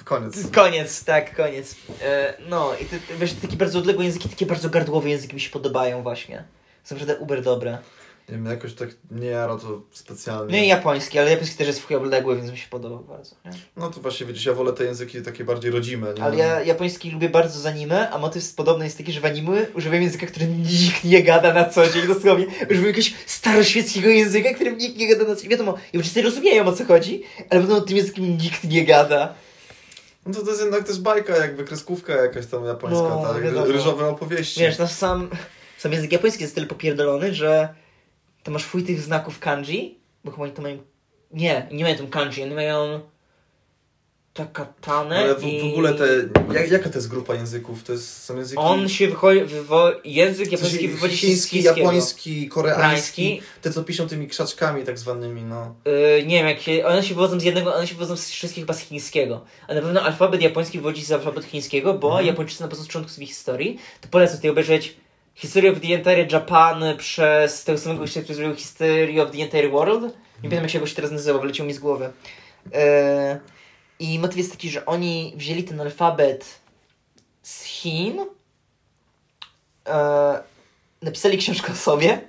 Speaker 2: Koniec.
Speaker 1: Koniec, tak, koniec. E, no i te, te, wiesz, takie bardzo odległe języki, takie bardzo gardłowe języki mi się podobają właśnie. Są naprawdę uber dobre.
Speaker 2: Nie wiem, jakoś tak nie jara to
Speaker 1: No i
Speaker 2: specjalnie.
Speaker 1: japoński, ale japoński też jest w chuj odległy, więc mi się podoba bardzo. Nie?
Speaker 2: No to właśnie widzisz, ja wolę te języki takie bardziej rodzime. Nie?
Speaker 1: Ale ja japoński lubię bardzo z anime, a motyw podobny jest taki, że w anime używam języka, którym nikt nie gada na co dzień, dosłownie. Używam jakiegoś staroświeckiego języka, którym nikt nie gada na co dzień. Wiadomo, Japończycy rozumieją o co chodzi, ale będą tym językiem nikt nie gada.
Speaker 2: No to, to jest jednak też bajka, jakby kreskówka jakaś tam japońska,
Speaker 1: No,
Speaker 2: tak?
Speaker 1: wiadomo.
Speaker 2: Ry- Ryżowe opowieści.
Speaker 1: Wiesz, nasz sam, sam język japoński jest tyle popierdolony, że to masz fuj tych znaków kanji, bo chyba oni to mają... Nie, nie mają tam kanji, oni mają... Takatanę
Speaker 2: No, Ale w,
Speaker 1: no i...
Speaker 2: w ogóle te... Jak, jaka to jest grupa języków? To jest, są języki...
Speaker 1: On się wychodzi... Wywo... Język
Speaker 2: W sensie
Speaker 1: japoński wywodzi się z
Speaker 2: chiński,
Speaker 1: chińskiego.
Speaker 2: japoński, koreański,
Speaker 1: Koreański.
Speaker 2: te co piszą tymi krzaczkami tak zwanymi, no.
Speaker 1: Yy, nie wiem, jak się, one się wywodzą z jednego, one się wywodzą z wszystkich chyba z chińskiego. A na pewno alfabet japoński wywodzi się z alfabetu chińskiego, bo Japończycy na początku swojej historii, to polecam tutaj obejrzeć History of the Entire Japan przez tego samego gościa, który zrobił History of the Entire World. Nie pamiętam, jak się goś teraz nazywa, wyleciał mi z głowy. Yy, I motyw jest taki, że oni wzięli ten alfabet z Chin, yy, napisali książkę o sobie,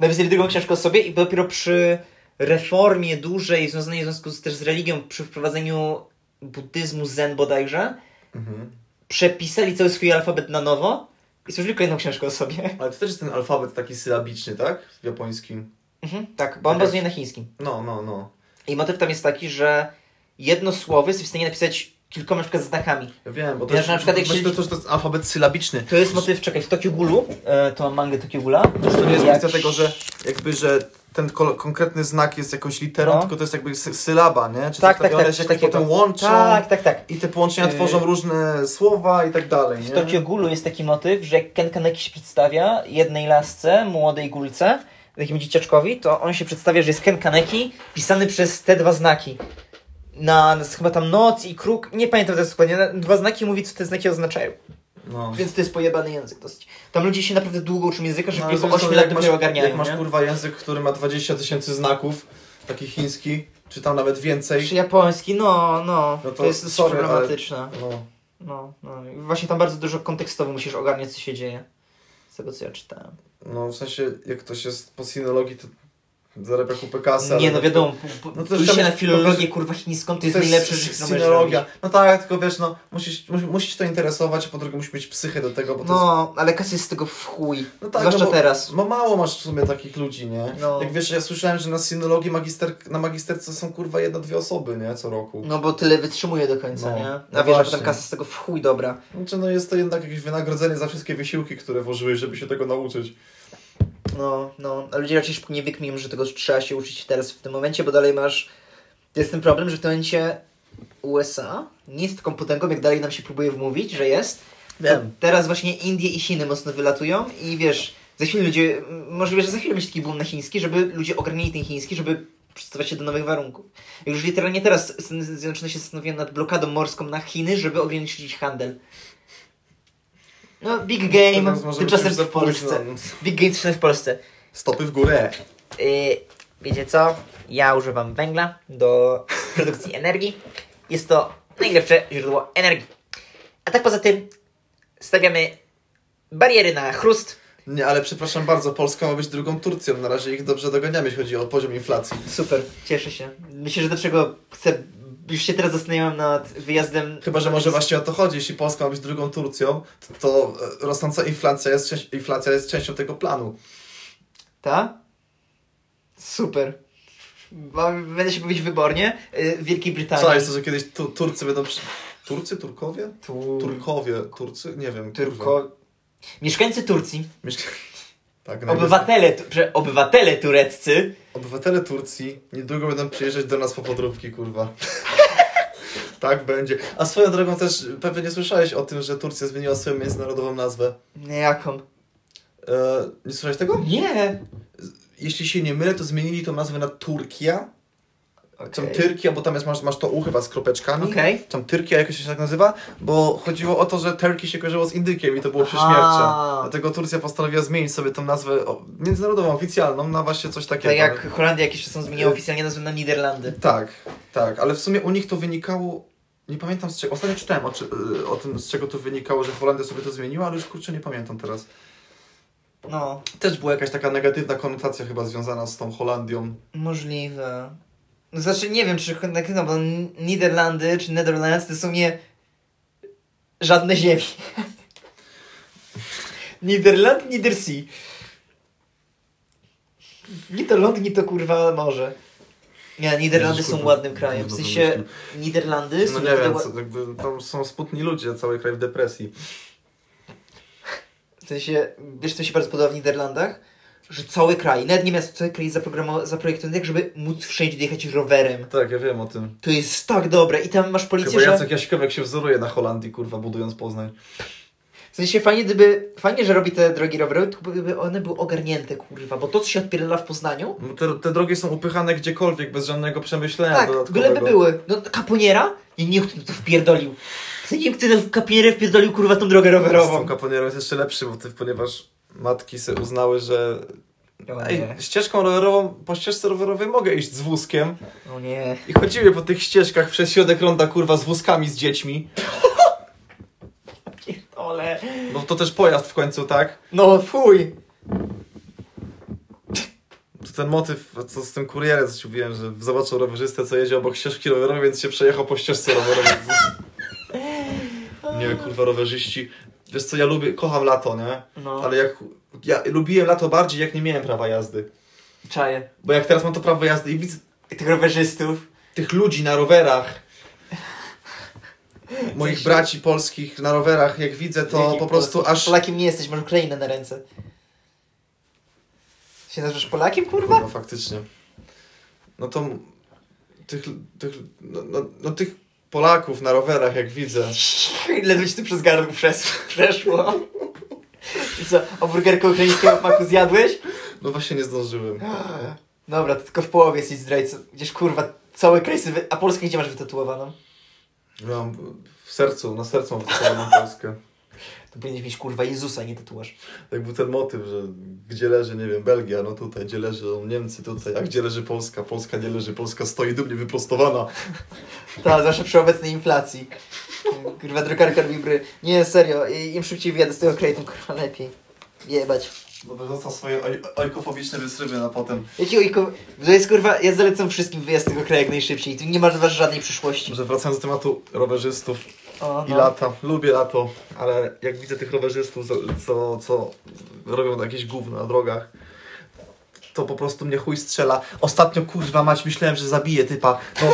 Speaker 1: napisali drugą książkę o sobie i dopiero przy reformie dużej, związanej w związku z, też z religią, przy wprowadzeniu buddyzmu zen bodajże,
Speaker 2: Mhm.
Speaker 1: przepisali cały swój alfabet na nowo i stworzyli kolejną książkę o sobie.
Speaker 2: Ale to też jest ten alfabet taki sylabiczny, tak? W japońskim.
Speaker 1: Mhm, tak, bo on
Speaker 2: Okej.
Speaker 1: bazuje na chińskim.
Speaker 2: No, no, no.
Speaker 1: I motyw tam jest taki, że jedno słowo jesteś w stanie napisać kilkoma na przykład znakami.
Speaker 2: Ja wiem, bo to
Speaker 1: Ja,
Speaker 2: jest,
Speaker 1: że na przykład jak
Speaker 2: właśnie
Speaker 1: się-
Speaker 2: to, to, to jest alfabet sylabiczny.
Speaker 1: To jest motyw, czekaj, w Tokio Gulu, e, to mangę Tokio Gula.
Speaker 2: To nie jest
Speaker 1: Jak-
Speaker 2: kwestia tego, że jakby, że ten kol- konkretny znak jest jakąś literą,
Speaker 1: No.
Speaker 2: tylko to jest jakby sy- sylaba, nie? Czy
Speaker 1: Tak,
Speaker 2: coś
Speaker 1: tak,
Speaker 2: takiego,
Speaker 1: tak.
Speaker 2: one się
Speaker 1: coś
Speaker 2: jakoś
Speaker 1: takiego.
Speaker 2: potem łączą
Speaker 1: Tak, tak, tak.
Speaker 2: i te połączenia
Speaker 1: Yy.
Speaker 2: tworzą różne słowa i tak dalej, nie?
Speaker 1: W Tokio Gulu jest taki motyw, że jak Ken Kaneki się przedstawia jednej lasce, młodej gulce, takim dzieciaczkowi, to on się przedstawia, że jest Ken Kaneki pisany przez te dwa znaki. Na, na chyba tam noc i kruk, nie pamiętam teraz dokładnie, na- dwa znaki mówi, co te znaki oznaczają.
Speaker 2: No.
Speaker 1: Więc to jest pojebany język dosyć. Tam ludzie się naprawdę długo uczą języka, że
Speaker 2: No,
Speaker 1: no,
Speaker 2: ale
Speaker 1: po
Speaker 2: to jest
Speaker 1: 8
Speaker 2: to,
Speaker 1: lat
Speaker 2: jak
Speaker 1: dopiero
Speaker 2: masz-
Speaker 1: ogarniają,
Speaker 2: Jak masz
Speaker 1: nie?
Speaker 2: kurwa język, który ma 20 tysięcy znaków, taki chiński, czy tam nawet więcej.
Speaker 1: Czy japoński, no, no,
Speaker 2: No to
Speaker 1: to, jest dosyć
Speaker 2: sorry, ale-
Speaker 1: problematyczne.
Speaker 2: No,
Speaker 1: No, no. I właśnie tam bardzo dużo kontekstowo musisz ogarniać, co się dzieje. z tego co ja czytałem.
Speaker 2: No w sensie, jak ktoś jest po sinologii, to zarabia kupę kasy.
Speaker 1: nie,
Speaker 2: ale-
Speaker 1: no wiadomo, p- p-
Speaker 2: No to
Speaker 1: pójście
Speaker 2: trzeba
Speaker 1: na
Speaker 2: mieć-
Speaker 1: filologię kurwa chińską to jest najlepsze, że co możesz
Speaker 2: sinologia.
Speaker 1: zrobić.
Speaker 2: No tak, tylko wiesz, no musisz, musi- musisz to interesować, a po drugie musisz mieć psychę do tego, bo to jest...
Speaker 1: No, ale kasy jest z tego w chuj.
Speaker 2: No tak,
Speaker 1: Zwłaszcza
Speaker 2: no bo-
Speaker 1: teraz.
Speaker 2: No mało masz w sumie takich ludzi, nie?
Speaker 1: No.
Speaker 2: Jak wiesz, ja słyszałem, że na sinologii magister, na magisterce są kurwa jedna, dwie osoby, nie? Co roku.
Speaker 1: No bo tyle wytrzymuje do końca,
Speaker 2: No,
Speaker 1: nie? A
Speaker 2: no
Speaker 1: wiesz, że
Speaker 2: właśnie.
Speaker 1: potem kasa z tego w chuj dobra.
Speaker 2: Znaczy, no jest to jednak jakieś wynagrodzenie za wszystkie wysiłki, które włożyłeś, żeby się tego nauczyć.
Speaker 1: No, no. A ludzie raczej szybko nie wykmiją, że tego trzeba się uczyć teraz w tym momencie, bo dalej masz... Jest ten problem, że w tym momencie USA nie jest taką potęgą, jak dalej nam się próbuje wmówić, że jest.
Speaker 2: Wiem.
Speaker 1: To Teraz właśnie Indie i Chiny mocno wylatują i wiesz, za chwilę ludzie... m, Możliwe, że za chwilę będzie taki boom na chiński, żeby ludzie ogarnili ten chiński, żeby przystosować się do nowych warunków. Już literalnie teraz Stany Zjednoczone się zastanawiają nad blokadą morską na Chiny, żeby ograniczyć handel. No, big game,
Speaker 2: Natomiast może być
Speaker 1: tymczasem
Speaker 2: już za
Speaker 1: w Polsce.
Speaker 2: późno.
Speaker 1: Big Game 3 w Polsce.
Speaker 2: Stopy w górę.
Speaker 1: Yy, wiecie co? Ja używam węgla do produkcji energii. Jest to najlepsze źródło energii. A tak poza tym stawiamy bariery na chrust.
Speaker 2: Nie, ale przepraszam bardzo, Polska ma być drugą Turcją. Na razie ich dobrze doganiamy, jeśli chodzi o poziom inflacji.
Speaker 1: Super, cieszę się. Myślę, że do czego chcę... Już się teraz zastanawiam nad wyjazdem...
Speaker 2: Chyba, że może właśnie o to chodzi. Jeśli Polska ma być drugą Turcją, to, to e, rosnąca inflacja jest, część- inflacja jest częścią tego planu.
Speaker 1: Ta? Super. Bo- Będę się bawić wybornie. Yy, w Wielkiej Brytanii.
Speaker 2: Co jest to, że kiedyś tu, Turcy będą... Przy... Turcy? Turkowie?
Speaker 1: Tu...
Speaker 2: Turkowie. Turcy? Nie wiem. kurwa.
Speaker 1: Turko... Mieszkańcy Turcji,
Speaker 2: Myślę... Tak, najlepiej.
Speaker 1: obywatele, tu- prze- obywatele tureccy
Speaker 2: Obywatele Turcji niedługo będą przyjeżdżać do nas po podróbki, kurwa. tak będzie. A swoją drogą też pewnie nie słyszałeś o tym, że Turcja zmieniła swoją międzynarodową nazwę.
Speaker 1: Nie, jaką?
Speaker 2: E, nie słyszałeś tego?
Speaker 1: Nie!
Speaker 2: Jeśli się nie mylę, to zmienili tą nazwę na Turkia. Tam
Speaker 1: Okay.
Speaker 2: Tyrkia, bo tam jest, masz, masz to U chyba z kropeczkami.
Speaker 1: Okej.
Speaker 2: Tam Tyrkia jakoś się tak nazywa, bo chodziło o to, że Turki się kojarzyło z Indykiem i to było prześmiewcze.
Speaker 1: Aha.
Speaker 2: Dlatego Turcja postanowiła zmienić sobie tą nazwę o, międzynarodową, oficjalną na właśnie coś takiego.
Speaker 1: Tak jak Holandia jakiś czas
Speaker 2: Y-
Speaker 1: zmieniła oficjalnie nazwę na Niderlandy.
Speaker 2: Tak, tak, ale w sumie u nich to wynikało. Nie pamiętam z czego. Ostatnio czytałem o, czy, y, o tym, z czego to wynikało, że Holandia sobie to zmieniła, ale już kurczę nie pamiętam teraz.
Speaker 1: No,
Speaker 2: Też była jakaś taka negatywna konotacja chyba związana z tą Holandią.
Speaker 1: możliwe. No, Znaczy, nie wiem, czy na no, bo Niderlandy czy Netherlands to są nie żadne ziemi. Niderland, Niedersee. Nie to ląd, nie to kurwa morze. Nie, Niderlandy
Speaker 2: Jezus,
Speaker 1: są
Speaker 2: kurwa,
Speaker 1: ładnym krajem. W
Speaker 2: gówno to
Speaker 1: sensie Niderlandy są
Speaker 2: No nie
Speaker 1: naprawdę
Speaker 2: wiem,
Speaker 1: ła-
Speaker 2: co, jakby, tam są smutni ludzie, cały kraj w depresji.
Speaker 1: W sensie, wiesz co mi się bardzo podoba w Niderlandach? Że cały kraj, nawet nie miasto, cały kraj jest zaprogramo- zaprojektowany tak, żeby móc wszędzie jechać rowerem.
Speaker 2: Tak, ja wiem o tym.
Speaker 1: To jest tak dobre i tam masz policję,
Speaker 2: Chyba
Speaker 1: że...
Speaker 2: Jacek Jaśkowiak się wzoruje na Holandii, kurwa, budując Poznań.
Speaker 1: W sensie fajnie, gdyby... Fajnie, że robi te drogi rowerowe, tylko gdyby one były ogarnięte, kurwa, bo to, co się odpierdala w Poznaniu...
Speaker 2: No Te, te drogi są upychane gdziekolwiek, bez żadnego przemyślenia
Speaker 1: Tak,
Speaker 2: dodatkowego.
Speaker 1: byleby były. No, kaponiera? Nie, nie, kto to wpierdolił. Kto nie wiem, kto w kapierę wpierdolił, kurwa, tą drogę
Speaker 2: Z tą
Speaker 1: rowerową.
Speaker 2: kaponierą jest jeszcze lepszy motyw, ponieważ matki se uznały, że
Speaker 1: O
Speaker 2: Ej,
Speaker 1: nie,
Speaker 2: ścieżką rowerową, po ścieżce rowerowej mogę iść z wózkiem.
Speaker 1: o nie.
Speaker 2: I chodziły po tych ścieżkach przez środek ronda, kurwa, z wózkami, z dziećmi.
Speaker 1: Ole.
Speaker 2: Bo to też pojazd w końcu, tak?
Speaker 1: No, fuj.
Speaker 2: To ten motyw, co z tym kurierem coś mówiłem, że zobaczył rowerzystę, co jedzie obok ścieżki rowerowej, więc się przejechał po ścieżce rowerowej. nie, kurwa, rowerzyści. Wiesz co, ja lubię, kocham lato, nie?
Speaker 1: No,
Speaker 2: Ale jak... Ja lubiłem lato bardziej, jak nie miałem prawa jazdy.
Speaker 1: czaję.
Speaker 2: Bo jak teraz mam to prawo jazdy i widzę
Speaker 1: Tych rowerzystów.
Speaker 2: tych ludzi na rowerach. Moich
Speaker 1: Coś-
Speaker 2: braci polskich na rowerach, jak widzę, to
Speaker 1: Wielki
Speaker 2: po prostu
Speaker 1: Polak.
Speaker 2: aż.
Speaker 1: Polakiem nie jesteś, masz Ukrainę na ręce. Się nazywasz Polakiem, kurwa?
Speaker 2: No faktycznie. No to. m- Tych. tych no, no, no tych Polaków na rowerach, jak widzę.
Speaker 1: Ledwo ci tu przez gardło przes- przeszło. I co, hamburgerkę ukraińskiego w maku zjadłeś?
Speaker 2: No właśnie nie zdążyłem.
Speaker 1: Dobra, to tylko w połowie jesteś zdrajcą. Gdzieś kurwa, cały kraj sobie... wy- A Polskę gdzie masz wytatuowaną?
Speaker 2: Mam w sercu, na sercu mam wystawianą Polskę.
Speaker 1: To powinieneś mieć kurwa Jezusa, nie tatuaż.
Speaker 2: Jakby ten motyw, że gdzie leży, nie wiem, Belgia, no tutaj, gdzie leżą Niemcy, tutaj, a gdzie leży Polska? Polska nie leży, Polska stoi dumnie wyprostowana.
Speaker 1: Tak, zwłaszcza przy obecnej inflacji. Kurwa, drukarka robi bry. Nie, serio, i- im szybciej wyjadę z tego kraju, tym kurwa lepiej. Jebać.
Speaker 2: Dobra, został swoje oj- ojkofobiczne wysrywy na potem.
Speaker 1: Jaki ojku... To jest kurwa, ja zalecam wszystkim wyjazd z tego kraju jak najszybciej. Tu nie masz masz żadnej przyszłości.
Speaker 2: Może wracając do tematu rowerzystów
Speaker 1: O,
Speaker 2: i lata. Lubię lato, ale jak widzę tych rowerzystów, co, co, co robią jakieś gówno na drogach, to po prostu mnie chuj strzela. Ostatnio, kurwa mać, myślałem, że zabiję typa. No,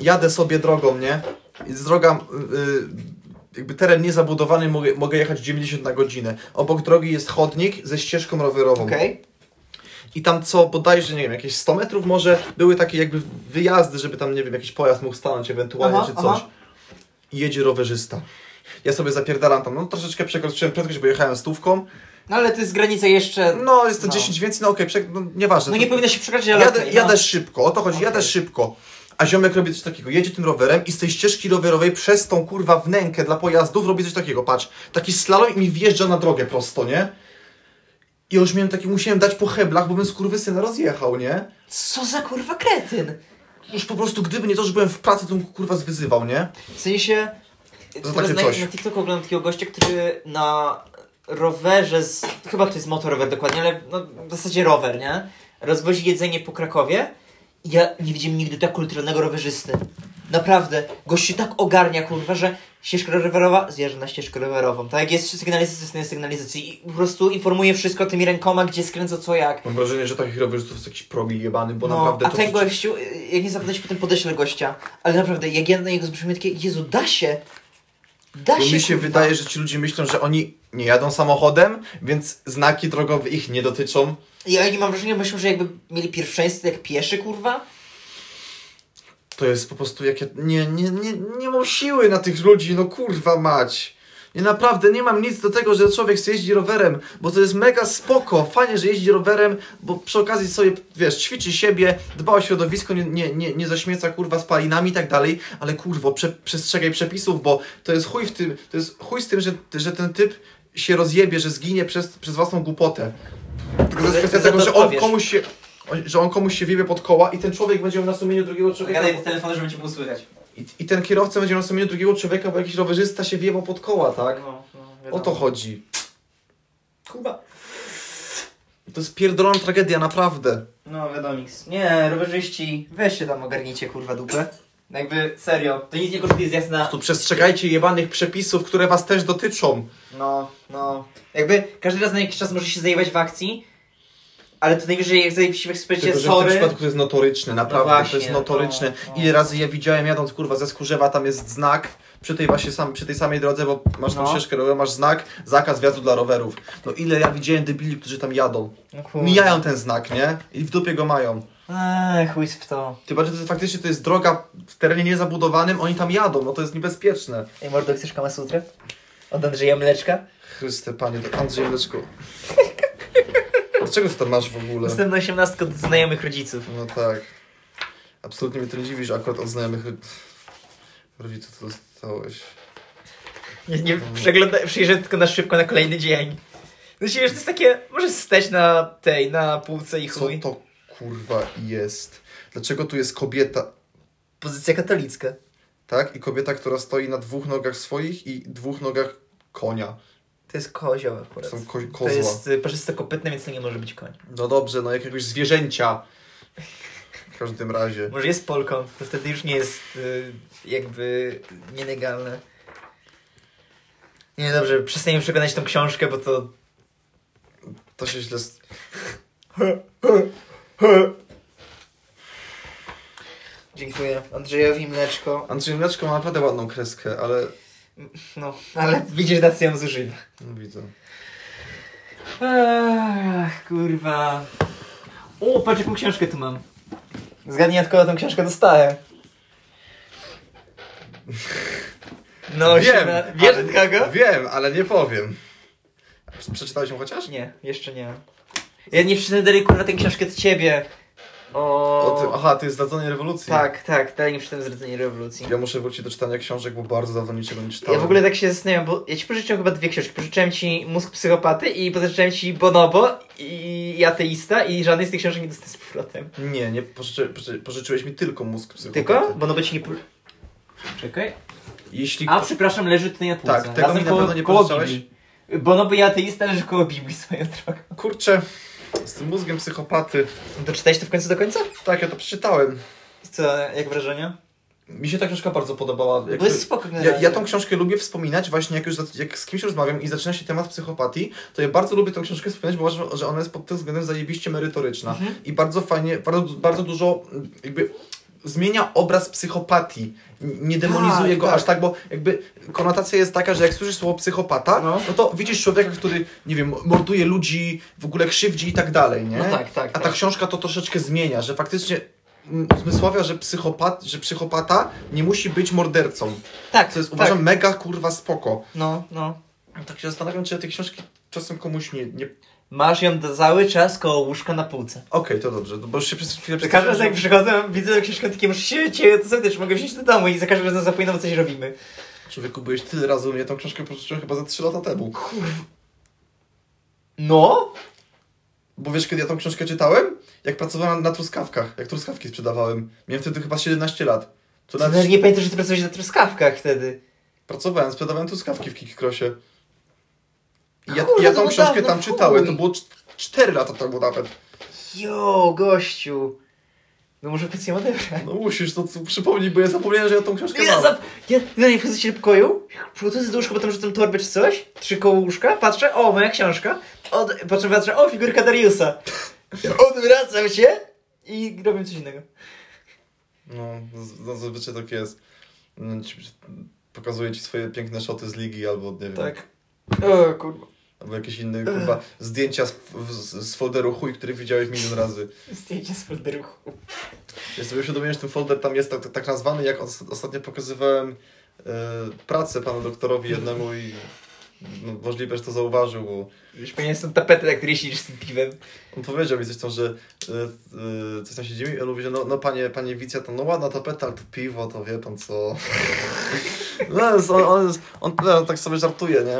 Speaker 2: jadę sobie drogą, nie? I Z droga... y, jakby teren niezabudowany, mogę, mogę jechać 90 na godzinę. Obok drogi jest chodnik ze ścieżką rowerową.
Speaker 1: Okej.
Speaker 2: I tam co bodajże, nie wiem, jakieś 100 metrów może były takie jakby wyjazdy, żeby tam, nie wiem, jakiś pojazd mógł stanąć ewentualnie
Speaker 1: Aha,
Speaker 2: czy coś.
Speaker 1: aha.
Speaker 2: I jedzie rowerzysta. Ja sobie zapierdalam tam, no troszeczkę przekroczyłem prędkość, bo jechałem stówką.
Speaker 1: No ale to jest granica jeszcze...
Speaker 2: No, jest to
Speaker 1: No.
Speaker 2: 10 więcej, no okej, przek- no nieważne.
Speaker 1: No
Speaker 2: To-
Speaker 1: nie powinno się przekraczać, ale
Speaker 2: jadę,
Speaker 1: okej, no.
Speaker 2: jadę szybko, o to chodzi, jadę
Speaker 1: Okej.
Speaker 2: szybko. A ziomek robi coś takiego, jedzie tym rowerem i z tej ścieżki rowerowej przez tą kurwa wnękę dla pojazdów robi coś takiego, patrz. Taki slalom i mi wjeżdża na drogę prosto, nie? I już miałem taki, musiałem dać po heblach, bo bym skurwysyna rozjechał, nie?
Speaker 1: Co za kurwa kretyn?
Speaker 2: Już po prostu, gdyby nie to, że byłem w pracy, to bym kurwa zwyzywał, nie?
Speaker 1: W sensie... Teraz
Speaker 2: takie
Speaker 1: na,
Speaker 2: coś.
Speaker 1: na TikToku oglądam takiego gościa, który na rowerze z... Chyba to jest motorower dokładnie, ale no, w zasadzie rower, nie? Rozwozi jedzenie po Krakowie. I Ja nie widziałem nigdy tak kulturalnego rowerzysty. Naprawdę. Gość się tak ogarnia, kurwa, że ścieżka rowerowa zjeżdża na ścieżkę rowerową. Tak, jak jest sygnalizacja, jest na sygnalizacji. I po prostu informuje wszystko tymi rękoma, gdzie skręca co jak.
Speaker 2: Mam wrażenie, że takich rowerzystów jest jakiś progi jebany, bo
Speaker 1: No,
Speaker 2: naprawdę
Speaker 1: a
Speaker 2: to...
Speaker 1: ten gościu, y, jak nie zapytać, potem podeślę gościa. Ale naprawdę, jak ja na niego zbrzmię, takie, Jezu, da się! Da
Speaker 2: Bo
Speaker 1: się,
Speaker 2: mi się
Speaker 1: kurwa.
Speaker 2: wydaje, że ci ludzie myślą, że oni nie jadą samochodem, więc znaki drogowe ich nie dotyczą.
Speaker 1: I oni mam wrażenie, myślą, że jakby mieli pierwszeństwo jak pieszy, kurwa.
Speaker 2: To jest po prostu jak ja... Nie, nie, nie, nie mam siły na tych ludzi, no kurwa mać. Ja naprawdę nie mam nic do tego, że człowiek sobie jeździ rowerem, bo to jest mega spoko, fajnie, że jeździ rowerem, bo przy okazji sobie, wiesz, ćwiczy siebie, dba o środowisko, nie, nie, nie, nie zaśmieca, kurwa, spalinami i tak dalej, ale kurwo, prze, przestrzegaj przepisów, bo to jest chuj w tym, to jest chuj z tym, że, że ten typ się rozjebie, że zginie przez, przez własną głupotę. Tylko to jest
Speaker 1: Za-
Speaker 2: kwestia
Speaker 1: za to
Speaker 2: tego, że on
Speaker 1: odpowiesz.
Speaker 2: komuś się... on- Że on komuś się wiebie pod koła i ten człowiek będzie miał na sumieniu
Speaker 1: Tak,
Speaker 2: drugiego człowieka.
Speaker 1: telefon, żeby cię było słychać.
Speaker 2: I, I ten kierowca będzie miał na sumieniu drugiego człowieka, bo jakiś rowerzysta się wiebał pod koła, tak? O to chodzi.
Speaker 1: Kuba.
Speaker 2: To jest pierdolona tragedia, naprawdę.
Speaker 1: No, wiadomiks. Nie, rowerzyści, weź się tam ogarnijcie, kurwa, dupę. No Jakby, serio, to nic nie kosztuje zjazd na...
Speaker 2: Tu przestrzegajcie jebanych przepisów, które was też dotyczą.
Speaker 1: No, no. Jakby, każdy raz na jakiś czas może się zajebać w akcji, ale to najwyżej jak zajebie się w ekspercie,
Speaker 2: Tylko, że w tym
Speaker 1: sorry.
Speaker 2: przypadku to jest notoryczne, naprawdę,
Speaker 1: właśnie,
Speaker 2: to jest notoryczne.
Speaker 1: no, no.
Speaker 2: Ile razy ja widziałem jadąc, kurwa, ze Skurzewa, tam jest znak, przy tej właśnie sam, przy tej samej drodze, bo masz tam
Speaker 1: No.
Speaker 2: ścieżkę rowerową, masz znak, zakaz wjazdu dla rowerów. No ile ja widziałem debili, którzy tam jadą.
Speaker 1: No, kurwa.
Speaker 2: Mijają ten znak, nie? I w dupie go mają.
Speaker 1: Eee, chuj w to.
Speaker 2: Chyba, że to jest, faktycznie to jest droga w terenie niezabudowanym, oni tam jadą, no to jest niebezpieczne.
Speaker 1: Ej, mordo, chcesz kamasutrę? Od Andrzeja Mleczka?
Speaker 2: Chryste, panie, to Andrzej Mleczko. Dlaczego ty tam masz w ogóle?
Speaker 1: Jestem na 18 od znajomych rodziców.
Speaker 2: No tak. Absolutnie mnie to nie dziwi, że akurat od znajomych ro- rodziców to dostałeś.
Speaker 1: Nie, nie przegląda, przyjrzę tylko na szybko na kolejny dzień. Znaczy, wiesz, to jest takie, możesz stać na tej, na półce i
Speaker 2: Co
Speaker 1: chuj.
Speaker 2: to kurwa jest? Dlaczego tu jest kobieta,
Speaker 1: Pozycja katolicka.
Speaker 2: tak? I kobieta, która stoi na dwóch nogach swoich i dwóch nogach konia.
Speaker 1: To jest kozioł akurat.
Speaker 2: Są ko-
Speaker 1: To
Speaker 2: kozła.
Speaker 1: jest y, parzysto kopytne, więc to nie może być koń.
Speaker 2: No dobrze, no jakiegoś zwierzęcia. W każdym razie.
Speaker 1: Może jest Polką, to wtedy już nie jest y, jakby nielegalne. Nie, dobrze, przestaniemy przeglądać tą książkę, bo to...
Speaker 2: To się źle... s-
Speaker 1: Dziękuję. Andrzejowi Mleczko.
Speaker 2: Andrzej Mleczko ma naprawdę ładną kreskę, ale...
Speaker 1: No, ale widzisz, Dacja ją zużywa.
Speaker 2: No widzę.
Speaker 1: Ach, kurwa. O, patrz jaką książkę tu mam. Zgadnij od kogo tą książkę dostałem. No,
Speaker 2: Wiem,
Speaker 1: siema- Wiesz od kogo?
Speaker 2: Wiem, ale nie powiem. Przeczytałeś ją chociaż?
Speaker 1: Nie, jeszcze nie. Ja nie przyczyny dalej kurwa tę książkę od ciebie. O,
Speaker 2: O tym, aha, to jest Zdradzenie Rewolucji.
Speaker 1: tak, tak, dalej nie przeczytałem Zradzenie Rewolucji.
Speaker 2: Ja muszę wrócić do czytania książek, bo bardzo dawno niczego nie czytałem.
Speaker 1: Ja w ogóle tak się zastanawiam, bo ja ci pożyczyłem chyba dwie książki. Pożyczyłem ci Mózg Psychopaty i pożyczyłem ci Bonobo i, i Ateista i żadnej z tych książek nie dostałem z powrotem.
Speaker 2: Nie, nie, pożyczy, pożyczy, pożyczyłeś mi tylko mózg psychopaty.
Speaker 1: Tylko? Bonobo ci nie... po- Czekaj.
Speaker 2: Jeśli...
Speaker 1: A, przepraszam, leży tutaj na półce.
Speaker 2: Tak, tego mi na
Speaker 1: koło-
Speaker 2: pewno nie
Speaker 1: koło
Speaker 2: pożyczałeś.
Speaker 1: Biblii. Bono był ateista, leży koło Biblii swoją drogą.
Speaker 2: Kurczę, z tym mózgiem psychopaty.
Speaker 1: Doczytałeś No to w końcu do końca?
Speaker 2: Tak, ja to przeczytałem.
Speaker 1: Co, jak wrażenia?
Speaker 2: Mi się ta książka bardzo podobała.
Speaker 1: Bo
Speaker 2: Jakby-
Speaker 1: jest spoko
Speaker 2: Ja,
Speaker 1: generalnie.
Speaker 2: ja tą książkę lubię wspominać właśnie jak już za- jak z kimś rozmawiam i zaczyna się temat psychopatii, to ja bardzo lubię tą książkę wspominać, bo uważam, że ona jest pod tym względem zajebiście merytoryczna
Speaker 1: Mhm.
Speaker 2: i bardzo fajnie, bardzo, bardzo dużo mm, jakby zmienia obraz psychopatii. N- Nie demonizuje
Speaker 1: Tak,
Speaker 2: go
Speaker 1: tak.
Speaker 2: aż tak, bo jakby konotacja jest taka, że jak słyszysz słowo psychopata,
Speaker 1: No.
Speaker 2: no, to widzisz człowieka, który, nie wiem, morduje ludzi, w ogóle krzywdzi i tak dalej, nie?
Speaker 1: No tak, tak,
Speaker 2: A ta
Speaker 1: tak.
Speaker 2: książka to troszeczkę zmienia, że faktycznie mm, uzmysławia, że, psychopat, że psychopata nie musi być mordercą.
Speaker 1: Tak,
Speaker 2: Co jest
Speaker 1: tak.
Speaker 2: uważam mega kurwa spoko.
Speaker 1: No, no.
Speaker 2: Tak się zastanawiam, czy ja te książki czasem komuś nie. nie... Okej,
Speaker 1: Masz ją do- cały czas koło łóżka na półce.
Speaker 2: to dobrze, no bo już się przez chwilę
Speaker 1: Za każdym razem jak
Speaker 2: przestraszyłem,
Speaker 1: przychodzę, widzę tę książkę, takie muszę się cię, to sobie też mogę wziąć do domu i za każdym razem zapominam, co się robimy.
Speaker 2: że- Człowieku, byłeś tyle razy u mnie, tą książkę pożyczyłem chyba za 3 lata temu.
Speaker 1: No?
Speaker 2: Bo wiesz, kiedy ja tą książkę czytałem? Jak pracowałem na truskawkach, jak truskawki sprzedawałem. Miałem wtedy chyba 17 lat.
Speaker 1: To
Speaker 2: To nawet
Speaker 1: nawet nie pamiętam, że ty pracowałeś na truskawkach wtedy.
Speaker 2: pracowałem, sprzedawałem truskawki w Kikikrosie. I ja,
Speaker 1: Kurwa,
Speaker 2: ja
Speaker 1: to
Speaker 2: tą
Speaker 1: było
Speaker 2: książkę
Speaker 1: dawno,
Speaker 2: tam
Speaker 1: chuj.
Speaker 2: czytałem, to było 4 lata temu nawet.
Speaker 1: Jo, gościu. No może być ją odebrać.
Speaker 2: No musisz to tu przypomnieć, bo ja zapomniałem, że ja tą książkę
Speaker 1: Ja,
Speaker 2: mam.
Speaker 1: zap... ja no nie wchodzę się do pokoju, przygotuję się do łóżka, potem rzucam torbę czy coś, trzy koło łóżka, patrzę, o, moja książka, od... po czym patrzę, o, figurka Dariusa. Odwracam się i robię coś innego.
Speaker 2: No, z- no zazwyczaj tak jest. No, ci- Pokazuje ci swoje piękne szoty z ligi albo, nie wiem,
Speaker 1: Tak. O, kurwa.
Speaker 2: albo jakieś inne kurwa, zdjęcia z, z, z folderu chuj, który widziałeś milion razy.
Speaker 1: Zdjęcie z folderuchu.
Speaker 2: Ja sobie uświadomiłem, że ten folder tam jest tak, tak, tak nazwany, jak os, ostatnio pokazywałem e, pracę panu doktorowi jednemu i no, możliwe, że to zauważył, bo
Speaker 1: Już powinien są tapety, na której siedzisz z tym piwem.
Speaker 2: on powiedział mi coś tam, że e, e, coś tam się dzieje i on mówi, że no, no panie, panie Wicja, to no ładna tapeta, ale to piwo, to wie pan co. No, jest, on, on, jest, on, on tak sobie żartuje, nie?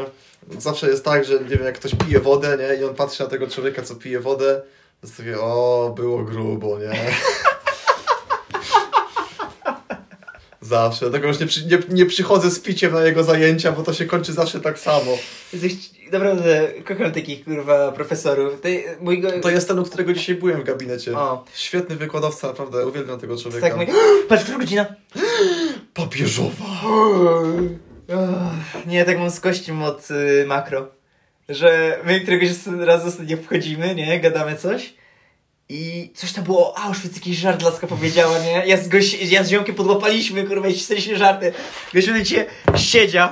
Speaker 2: Zawsze jest tak, że nie wiem, jak ktoś pije wodę, nie? I on patrzy na tego człowieka, co pije wodę, to jest takie, o, było grubo, nie? Zawsze, dlatego już nie, przy, nie, nie przychodzę z piciem na jego zajęcia, bo to się kończy zawsze tak samo.
Speaker 1: Jesteś, naprawdę, kocham takich, kurwa, profesorów. Ty, mój go...
Speaker 2: To jest ten, u którego dzisiaj byłem w gabinecie.
Speaker 1: O.
Speaker 2: Świetny wykładowca, naprawdę, uwielbiam tego człowieka.
Speaker 1: Tak, mój... Patrz, która godzina?
Speaker 2: Papieżowa!
Speaker 1: Ach, Nie, tak mam z kościem od y, makro. Że my któregoś raz ostatnio wchodzimy, nie? Gadamy coś. I coś tam było o Auschwitz, jakiś żart laska powiedziała, nie? Ja z, goś... ja z ziomkiem podłapaliśmy, kurwa, i chcieliśmy żarty. Gość się siedział.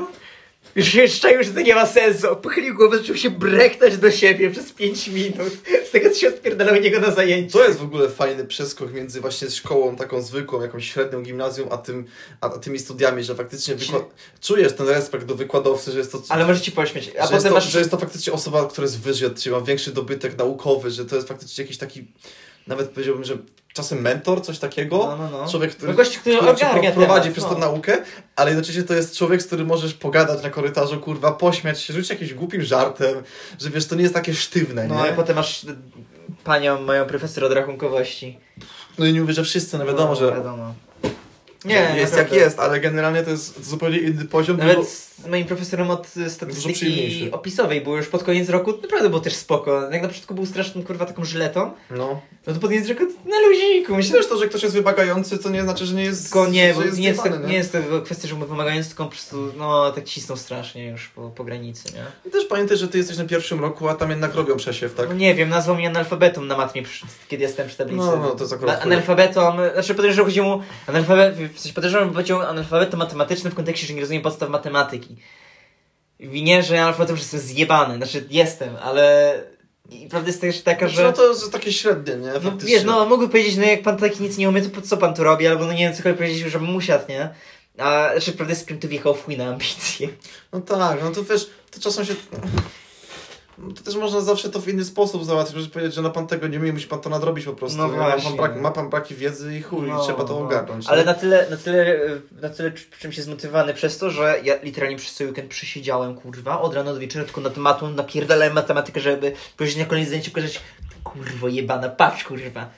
Speaker 1: Już się szczaił, że to nie ma sensu. Pochylił głowę, zaczął się brechtać do siebie przez 5 minut. Z tego, co się odpierdalało niego na zajęciu.
Speaker 2: To jest w ogóle fajny przeskok między właśnie szkołą taką zwykłą, jakąś średnią gimnazjum, a, tym, a, a tymi studiami, że faktycznie wykła- czujesz ten respekt do wykładowcy, że jest to...
Speaker 1: Ale możecie pośmieć. A
Speaker 2: że, jest
Speaker 1: potem
Speaker 2: to,
Speaker 1: masz...
Speaker 2: że jest to faktycznie osoba, która jest wyżej od ciebie, ma większy dobytek naukowy, że to jest faktycznie jakiś taki, nawet powiedziałbym, że czasem mentor, coś takiego.
Speaker 1: No, no, no.
Speaker 2: Człowiek, który,
Speaker 1: No gość, który
Speaker 2: cię
Speaker 1: ogarnia
Speaker 2: pro- prowadzi
Speaker 1: temat,
Speaker 2: przez
Speaker 1: no.
Speaker 2: tą naukę, ale jednocześnie to jest człowiek, z którym możesz pogadać na korytarzu, kurwa, pośmiać się, rzucić jakimś głupim żartem, że wiesz, to nie jest takie sztywne,
Speaker 1: No
Speaker 2: nie?
Speaker 1: i potem masz y, panią, moją profesor od rachunkowości.
Speaker 2: No i nie mówię, że wszyscy, no wiadomo,
Speaker 1: No,
Speaker 2: że
Speaker 1: Wiadomo.
Speaker 2: nie, jest jak
Speaker 1: naprawdę.
Speaker 2: jest, ale generalnie to jest zupełnie inny poziom.
Speaker 1: Nawet
Speaker 2: dużo-
Speaker 1: z moim profesorem od y,
Speaker 2: Dużo
Speaker 1: statystyki
Speaker 2: przyjemniejszy.
Speaker 1: opisowej było już pod koniec roku, naprawdę było też spoko. Jak na początku był strasznym kurwa taką żyletą,
Speaker 2: No.
Speaker 1: no to pod koniec roku na luziku. Myślę,
Speaker 2: Myślę, że to, że ktoś jest wymagający, to nie znaczy, że nie jest.
Speaker 1: tylko nie, bo
Speaker 2: że jest
Speaker 1: nie jest,
Speaker 2: zjebany,
Speaker 1: tak, nie jest to kwestia, że mu wymagając, tylko po prostu no tak cisną strasznie już po, po granicy, nie?
Speaker 2: I też pamiętaj, że ty jesteś na pierwszym roku, a tam jednak robią przesiew, tak?
Speaker 1: No nie wiem, nazwał mnie analfabetą na matmie, przy- kiedy jestem przy tablicy.
Speaker 2: No, no, to jest akurat
Speaker 1: Na-
Speaker 2: chuj.
Speaker 1: Analfabetą, znaczy podejrzewam, chodzi mu analfabet, w sensie podejrzewam, że powiedział analfabetą matematycznym w kontekście, że nie rozumiem podstaw matematyki. I nie, że analfabetem, że jestem zjebany, znaczy jestem, ale i prawda jest też taka,
Speaker 2: Znaczy, no
Speaker 1: że...
Speaker 2: to jest takie średnie, nie?
Speaker 1: No
Speaker 2: Faktycznie.
Speaker 1: wiesz, no mógłby powiedzieć, no jak pan taki nic nie umie, to po co pan tu robi, albo no nie wiem, cokolwiek powiedzieć, żebym musiał, nie? A znaczy prawda jest, z którym tu wjechał w chuj na ambicje.
Speaker 2: No tak, no to wiesz, to czasem się. No To też można zawsze to w inny sposób załatwić. Możesz powiedzieć, że no pan tego nie umie, musi pan to nadrobić po prostu.
Speaker 1: No
Speaker 2: nie? Ma,
Speaker 1: właśnie.
Speaker 2: pan brak, ma pan braki wiedzy i chuj,
Speaker 1: No,
Speaker 2: i trzeba to
Speaker 1: no.
Speaker 2: ogarnąć.
Speaker 1: Ale
Speaker 2: nie?
Speaker 1: na tyle, na tyle, e, na tyle cz- czymś jest zmotywowany przez to, że ja literalnie przez cały weekend przesiedziałem, kurwa, od rana do wieczora, tylko nad matą napierdalałem matematykę, żeby później na koniec zdjęcia pokazać, kurwo jebana, patrz, kurwa.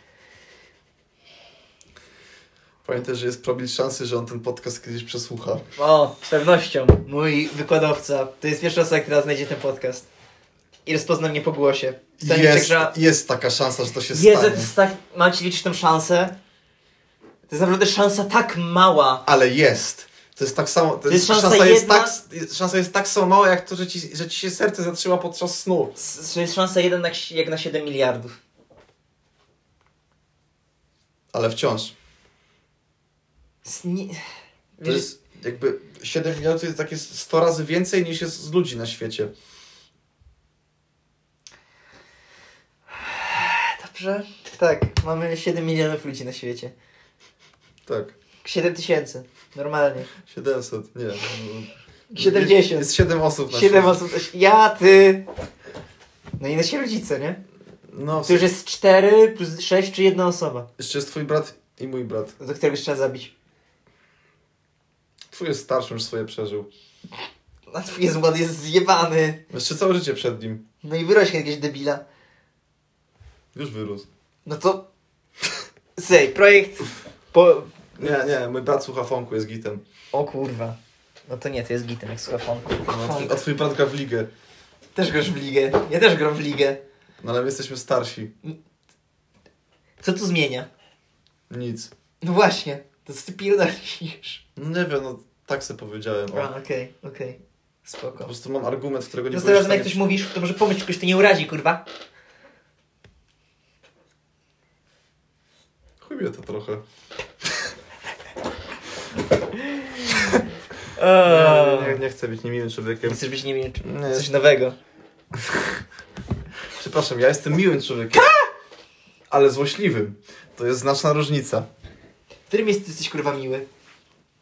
Speaker 2: Pamiętaj, że jest probabilit szansy, że on ten podcast kiedyś przesłucha.
Speaker 1: O, z pewnością. Mój wykładowca to jest pierwsza osoba, która znajdzie ten podcast. I rozpozna mnie po głosie. W sensie,
Speaker 2: Jest,
Speaker 1: że-
Speaker 2: jest taka szansa, że to się
Speaker 1: Jezu, to
Speaker 2: stanie.
Speaker 1: jest tak... Mam ci liczyć tę szansę? To jest naprawdę szansa tak mała.
Speaker 2: Ale jest. To jest tak samo. To jest,
Speaker 1: szansa
Speaker 2: szansa, jest
Speaker 1: jedna-
Speaker 2: tak, szansa jest tak samo mała, jak to, że ci, że ci się serce zatrzyma podczas snu.
Speaker 1: S- To jest szansa 1 na, ksi- jak na 7 miliardów.
Speaker 2: Ale wciąż.
Speaker 1: S- nie-
Speaker 2: To
Speaker 1: Wiesz,
Speaker 2: jest jakby 7 milionów to jest takie 100 razy więcej niż jest z ludzi na świecie.
Speaker 1: Dobrze. Tak, mamy 7 milionów ludzi na świecie.
Speaker 2: Tak.
Speaker 1: 7 tysięcy. Normalnie.
Speaker 2: 700, nie. no.
Speaker 1: 70.
Speaker 2: Jest 7 osób na
Speaker 1: 7
Speaker 2: świecie.
Speaker 1: osób. to się- Ja, ty. No i nasi rodzice, nie?
Speaker 2: No,
Speaker 1: To już jest 4 plus 6 czy jedna osoba.
Speaker 2: jeszcze jest twój brat i mój brat.
Speaker 1: Do któregoś trzeba zabić.
Speaker 2: Twój jest starszy, już swoje przeżył.
Speaker 1: A twój jest młody, jest zjebany.
Speaker 2: Jeszcze całe życie przed nim.
Speaker 1: No i wyrośnie jakiegoś debila.
Speaker 2: Już wyrósł.
Speaker 1: No to... Sej, projekt... Po...
Speaker 2: Nie, nie, mój brat słucha fonku, jest gitem.
Speaker 1: O kurwa. No to nie, to jest gitem jak słuchafonku.
Speaker 2: No, a twój- a twój brat gra w ligę.
Speaker 1: Też grasz w ligę. Ja też gram w ligę.
Speaker 2: No ale my jesteśmy starsi.
Speaker 1: Co tu zmienia?
Speaker 2: Nic.
Speaker 1: No właśnie. To co ty pierdolisz?
Speaker 2: No nie wiem, no tak sobie powiedziałem.
Speaker 1: A,
Speaker 2: O.
Speaker 1: okej, okej.
Speaker 2: Po
Speaker 1: Spoko.
Speaker 2: prostu mam argument, którego nie
Speaker 1: Następnym razem
Speaker 2: byłeś
Speaker 1: jak
Speaker 2: w
Speaker 1: coś
Speaker 2: stanie-
Speaker 1: mówisz, to może pomyśl, kogoś to nie urazi, kurwa.
Speaker 2: Chuj mnie to trochę.
Speaker 1: Eee.
Speaker 2: Nie, nie, nie chcę być niemiłym człowiekiem.
Speaker 1: Chcesz być nie wiem, czy...
Speaker 2: Nie.
Speaker 1: coś nowego.
Speaker 2: Przepraszam, ja jestem miłym człowiekiem. Ale złośliwym. To jest znaczna różnica.
Speaker 1: W którym miejscu jesteś kurwa miły?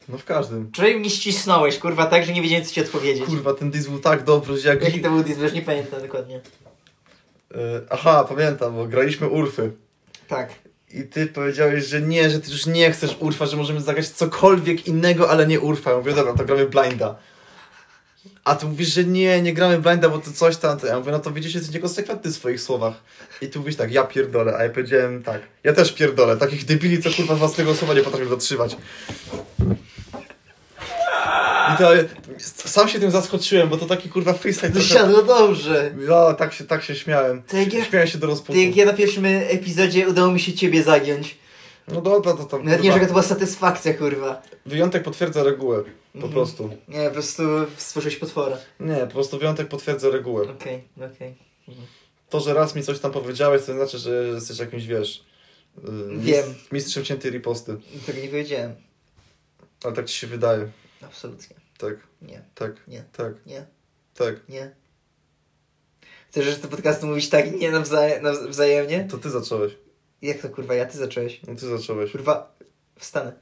Speaker 2: No w każdym.
Speaker 1: Wczoraj mnie ścisnąłeś kurwa tak, że nie wiedziałem co ci odpowiedzieć.
Speaker 2: Kurwa, ten dis był tak dobry, że jak...
Speaker 1: Jaki to był diss, bo już nie pamiętam dokładnie.
Speaker 2: Y, aha, pamiętam, bo graliśmy Urfy.
Speaker 1: Tak.
Speaker 2: I ty powiedziałeś, że nie, że ty już nie chcesz Urfa, że możemy zagrać cokolwiek innego, ale nie Urfa. Ja mówię, dobra, to gramy Blinda. A ty mówisz, że nie, nie gramy Blinda, bo to coś tam. To ja mówię, no to widzisz, jesteś niekonsekwentny w swoich słowach. I ty mówisz tak, ja pierdolę, a ja powiedziałem tak, ja też pierdolę. Takich debili, co kurwa własnego słowa nie potrafią dotrzymać. I to, sam się tym zaskoczyłem, bo to taki kurwa freestyle.
Speaker 1: To
Speaker 2: trochę-
Speaker 1: siadło dobrze.
Speaker 2: No, tak się, tak się śmiałem.
Speaker 1: To jak ja-
Speaker 2: Śmiałem się do rozpuku.
Speaker 1: Ty, jak ja na pierwszym epizodzie udało mi się ciebie zagiąć.
Speaker 2: No dobra, to tam.
Speaker 1: Nawet nie, że
Speaker 2: kurwa,
Speaker 1: to była satysfakcja kurwa.
Speaker 2: Wyjątek potwierdza regułę. Po
Speaker 1: Mhm.
Speaker 2: prostu.
Speaker 1: Nie, po prostu stworzyłeś potwora.
Speaker 2: Nie, po prostu wyjątek potwierdza regułę.
Speaker 1: Okej, okej.
Speaker 2: To, że raz mi coś tam powiedziałeś, to nie znaczy, że jesteś jakimś, wiesz... y, mis-
Speaker 1: Wiem.
Speaker 2: Mistrzem ciętej riposty.
Speaker 1: Tego nie powiedziałem.
Speaker 2: Ale tak ci się wydaje.
Speaker 1: Absolutnie.
Speaker 2: Tak,
Speaker 1: Nie,
Speaker 2: tak,
Speaker 1: nie,
Speaker 2: tak,
Speaker 1: nie,
Speaker 2: tak.
Speaker 1: nie. Chcesz, że do podcastu mówić tak i nie nawzaje, nawzajemnie?
Speaker 2: To ty zacząłeś.
Speaker 1: Jak to kurwa, ja ty zacząłeś?
Speaker 2: No ty zacząłeś.
Speaker 1: Kurwa, wstanę.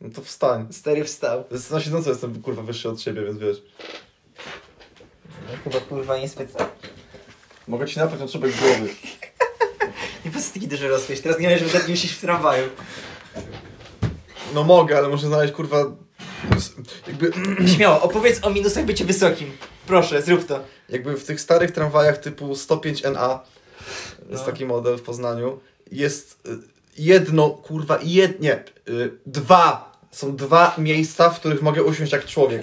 Speaker 2: No to wstań.
Speaker 1: Stary wstał.
Speaker 2: Z- Na siedząco jestem, kurwa, wyższy od ciebie, więc wiesz.
Speaker 1: No chyba kurwa nie specjalnie.
Speaker 2: Mogę ci napiąć na czubek głowy.
Speaker 1: Nie po prostu taki duży rozpieś. Teraz nie wiem, żeby tak musisz w tramwaju.
Speaker 2: No mogę, ale muszę znaleźć, kurwa... s- Jakby,
Speaker 1: Śmiało, opowiedz o minusach bycia wysokim. Proszę, zrób to.
Speaker 2: jakby w tych starych tramwajach typu 105 NA,
Speaker 1: No.
Speaker 2: jest taki model w Poznaniu, jest y, jedno, kurwa, jednie, y, dwa, są dwa miejsca, w których mogę usiąść jak człowiek.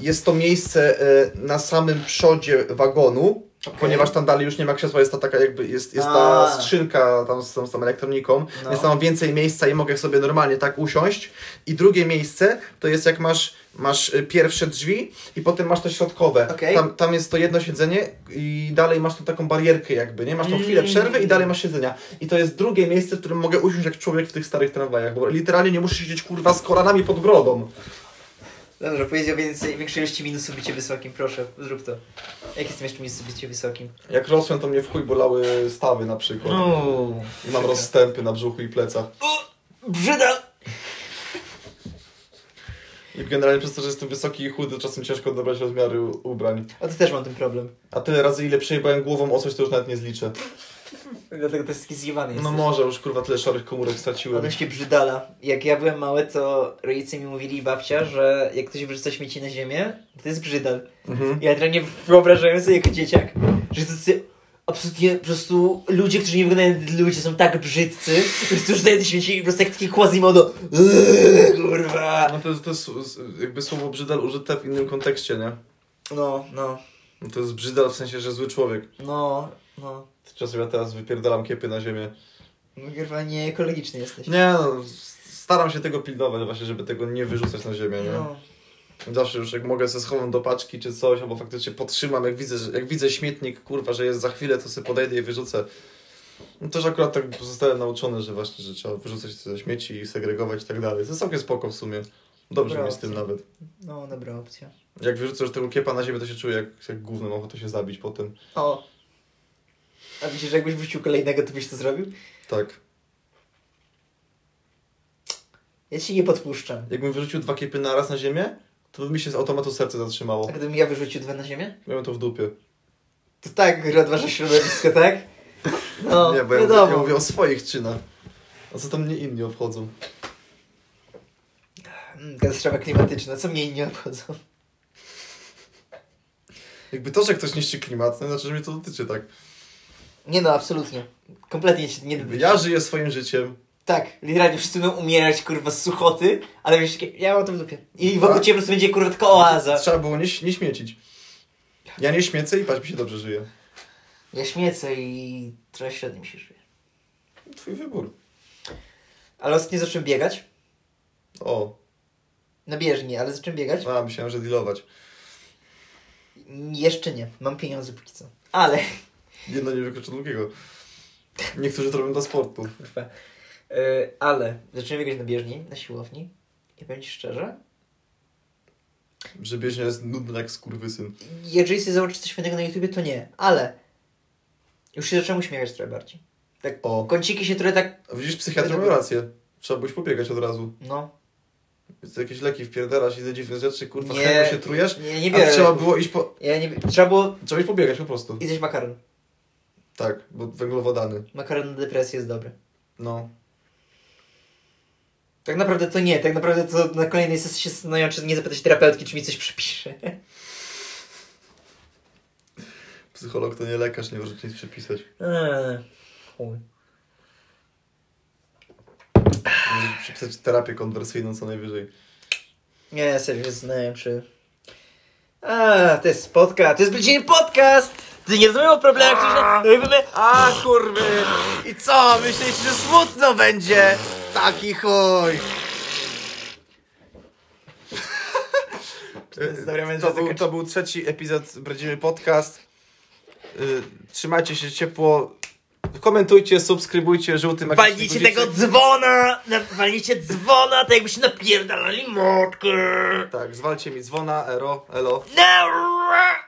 Speaker 2: Jest to miejsce y, na samym przodzie wagonu, ponieważ tam dalej już nie ma krzesła, jest ta taka jakby, jest, jest ta
Speaker 1: A.
Speaker 2: skrzynka tam z, z tą elektroniką,
Speaker 1: No.
Speaker 2: więc tam mam więcej miejsca i mogę sobie normalnie tak usiąść. I drugie miejsce to jest jak masz, masz y, pierwsze drzwi i potem masz to środkowe.
Speaker 1: Okej.
Speaker 2: Tam, tam jest to jedno siedzenie i dalej masz tą taką barierkę jakby, nie? Masz tą chwilę przerwy i dalej masz siedzenia. I to jest drugie miejsce, w którym mogę usiąść jak człowiek w tych starych tramwajach, bo literalnie nie muszę siedzieć kurwa z kolanami pod brodą.
Speaker 1: Dobrze, powiedział więcej, większej ilości minusów bycie wysokim. Proszę, zrób to. Jakie są jeszcze minusy bycie wysokim?
Speaker 2: Jak rosłem, to mnie w chuj bolały stawy na przykład.
Speaker 1: No. Uuu.
Speaker 2: I mam rozstępy na brzuchu i plecach.
Speaker 1: Brzyda!
Speaker 2: I generalnie przez to, że jestem wysoki i chudy, czasem ciężko dobrać rozmiary u- ubrań.
Speaker 1: A to też mam ten problem.
Speaker 2: A tyle razy, ile przejebałem głową o coś, to już nawet nie zliczę.
Speaker 1: Dlatego też taki zjebany jest.
Speaker 2: No może, już kurwa tyle szarych komórek straciłem.
Speaker 1: Odnośnie brzydala. Jak ja byłem mały, to rodzice mi mówili i babcia, że jak ktoś wyrzuca śmieci na ziemię, to jest brzydal. tak
Speaker 2: Mhm.
Speaker 1: Ja generalnie wyobrażałem sobie jako dzieciak, że to jest absolutnie po prostu ludzie, którzy nie wyglądają jak ludzie, są tak brzydcy, po prostu rzucają te śmieci i po prostu jak taki Quasimodo "Eee, kurwa.
Speaker 2: No to jest, to jest s- jakby słowo brzydal użyte w innym kontekście, nie?
Speaker 1: No, no,
Speaker 2: No To jest brzydal w sensie, że zły człowiek.
Speaker 1: no, no.
Speaker 2: Czasem ja teraz wypierdalam kiepy na ziemię.
Speaker 1: No kurwa, nieekologiczny jesteś.
Speaker 2: Nie, no, s- staram się tego pilnować właśnie, żeby tego nie wyrzucać na ziemię, nie?
Speaker 1: No.
Speaker 2: Zawsze już jak mogę se schowam do paczki czy coś, albo faktycznie podtrzymam, jak widzę, że, jak widzę śmietnik, kurwa, że jest za chwilę, to sobie podejdę i wyrzucę. No też akurat tak zostałem nauczony, że właśnie, że trzeba wyrzucać te śmieci i segregować i tak dalej. To jest całkiem spoko w sumie. Dobrze
Speaker 1: Dobra
Speaker 2: mi z tym
Speaker 1: opcja.
Speaker 2: nawet.
Speaker 1: No, dobra opcja.
Speaker 2: Jak wyrzucę już tego kiepa na ziemię, to się czuję jak, jak gówno, mam ochotę się zabić potem.
Speaker 1: O. A widzisz, że jakbyś wrócił kolejnego, to byś to zrobił?
Speaker 2: Tak.
Speaker 1: Ja ci nie podpuszczam.
Speaker 2: Jakbym wyrzucił dwa kiepy naraz na ziemię, to by mi się z automatu serce zatrzymało.
Speaker 1: A gdybym ja wyrzucił dwa na ziemię?
Speaker 2: Miałem to w dupie.
Speaker 1: To tak rozważasz środowisko, tak? No,
Speaker 2: nie, bo ja,
Speaker 1: wiadomo.
Speaker 2: ja mówię o swoich czynach. A co tam mnie inni obchodzą?
Speaker 1: Mm, Katastrofa klimatyczna, co mnie nie obchodzą.
Speaker 2: Jakby to, że ktoś niszczy klimat, to nie znaczy, że mnie to dotyczy, tak?
Speaker 1: Nie no, absolutnie. Kompletnie się nie
Speaker 2: Jakby
Speaker 1: dotyczy.
Speaker 2: Ja żyję swoim życiem.
Speaker 1: Tak, literalnie wszyscy będą umierać, kurwa, z suchoty, ale wiesz, takie, ja mam to w dupie. I wokół
Speaker 2: Tak.
Speaker 1: ciebie po prostu będzie, kurwa, tylko oaza.
Speaker 2: Trzeba było nie, nie śmiecić. Ja nie śmiecę i patrz, mi się dobrze żyje.
Speaker 1: Ja śmiecę i trochę średnio mi się żyje.
Speaker 2: Twój wybór.
Speaker 1: Ale ostatnio zacząłem biegać.
Speaker 2: O,
Speaker 1: Na bieżni, ale zacząłem biegać.
Speaker 2: a, myślałem, że dealować.
Speaker 1: Jeszcze nie, mam pieniądze póki co. Ale...
Speaker 2: Jedno nie wyklucza drugiego. Niektórzy to robią dla sportu.
Speaker 1: Kurwa. Yy, ale zacząłem biegać na bieżni, na siłowni. I powiem ci szczerze,
Speaker 2: Że bieżnia jest nudna jak skurwysyn.
Speaker 1: jeżeli sobie zobaczysz coś fajnego na YouTubie, to nie, ale już się zacząłem uśmiechać trochę bardziej. Tak,
Speaker 2: O.
Speaker 1: kąciki się trochę tak,
Speaker 2: A widzisz, psychiatra miał rację. Trzeba byś pobiegać od razu.
Speaker 1: no,
Speaker 2: Jest jakieś leki wpierdalasz i te dziwne rzeczy, kurwa,
Speaker 1: Nie.
Speaker 2: chętnie się trujesz.
Speaker 1: nie, nie
Speaker 2: A
Speaker 1: biorę.
Speaker 2: trzeba było iść po...
Speaker 1: Ja nie, trzeba było
Speaker 2: Trzeba iść pobiegać po prostu.
Speaker 1: i zjeść makaron.
Speaker 2: Tak, bo węglowodany.
Speaker 1: Makaron na depresję jest dobry.
Speaker 2: No.
Speaker 1: Tak naprawdę to nie, tak naprawdę to na kolejnej sesji się zastanawiam, czy nie zapytać terapeutki, czy mi coś przypisze.
Speaker 2: Psycholog to nie lekarz, nie może ci nic przepisać.
Speaker 1: Eee, chuj.
Speaker 2: Może przepisać terapię konwersyjną co najwyżej.
Speaker 1: Nie, ja serio się zastanawiam, czy... A, to jest podcast, to jest godzinny podcast! Ty nie rozumiem o problemach, które robimy...
Speaker 2: A kurwy! I co? Myślisz, że smutno będzie? Taki chuj!
Speaker 1: jest dobry moment, żeby
Speaker 2: E, To był,
Speaker 1: zakończyć?
Speaker 2: to był trzeci epizod Bredzimy Podcast. Y, Trzymajcie się ciepło. Komentujcie, subskrybujcie, żółty magiczny
Speaker 1: Walnijcie
Speaker 2: guziczek.
Speaker 1: tego dzwona! na- Walnijcie dzwona, tak jakbyście napierdalali motkę!
Speaker 2: Tak, zwalcie mi dzwona, ero, elo.
Speaker 1: No!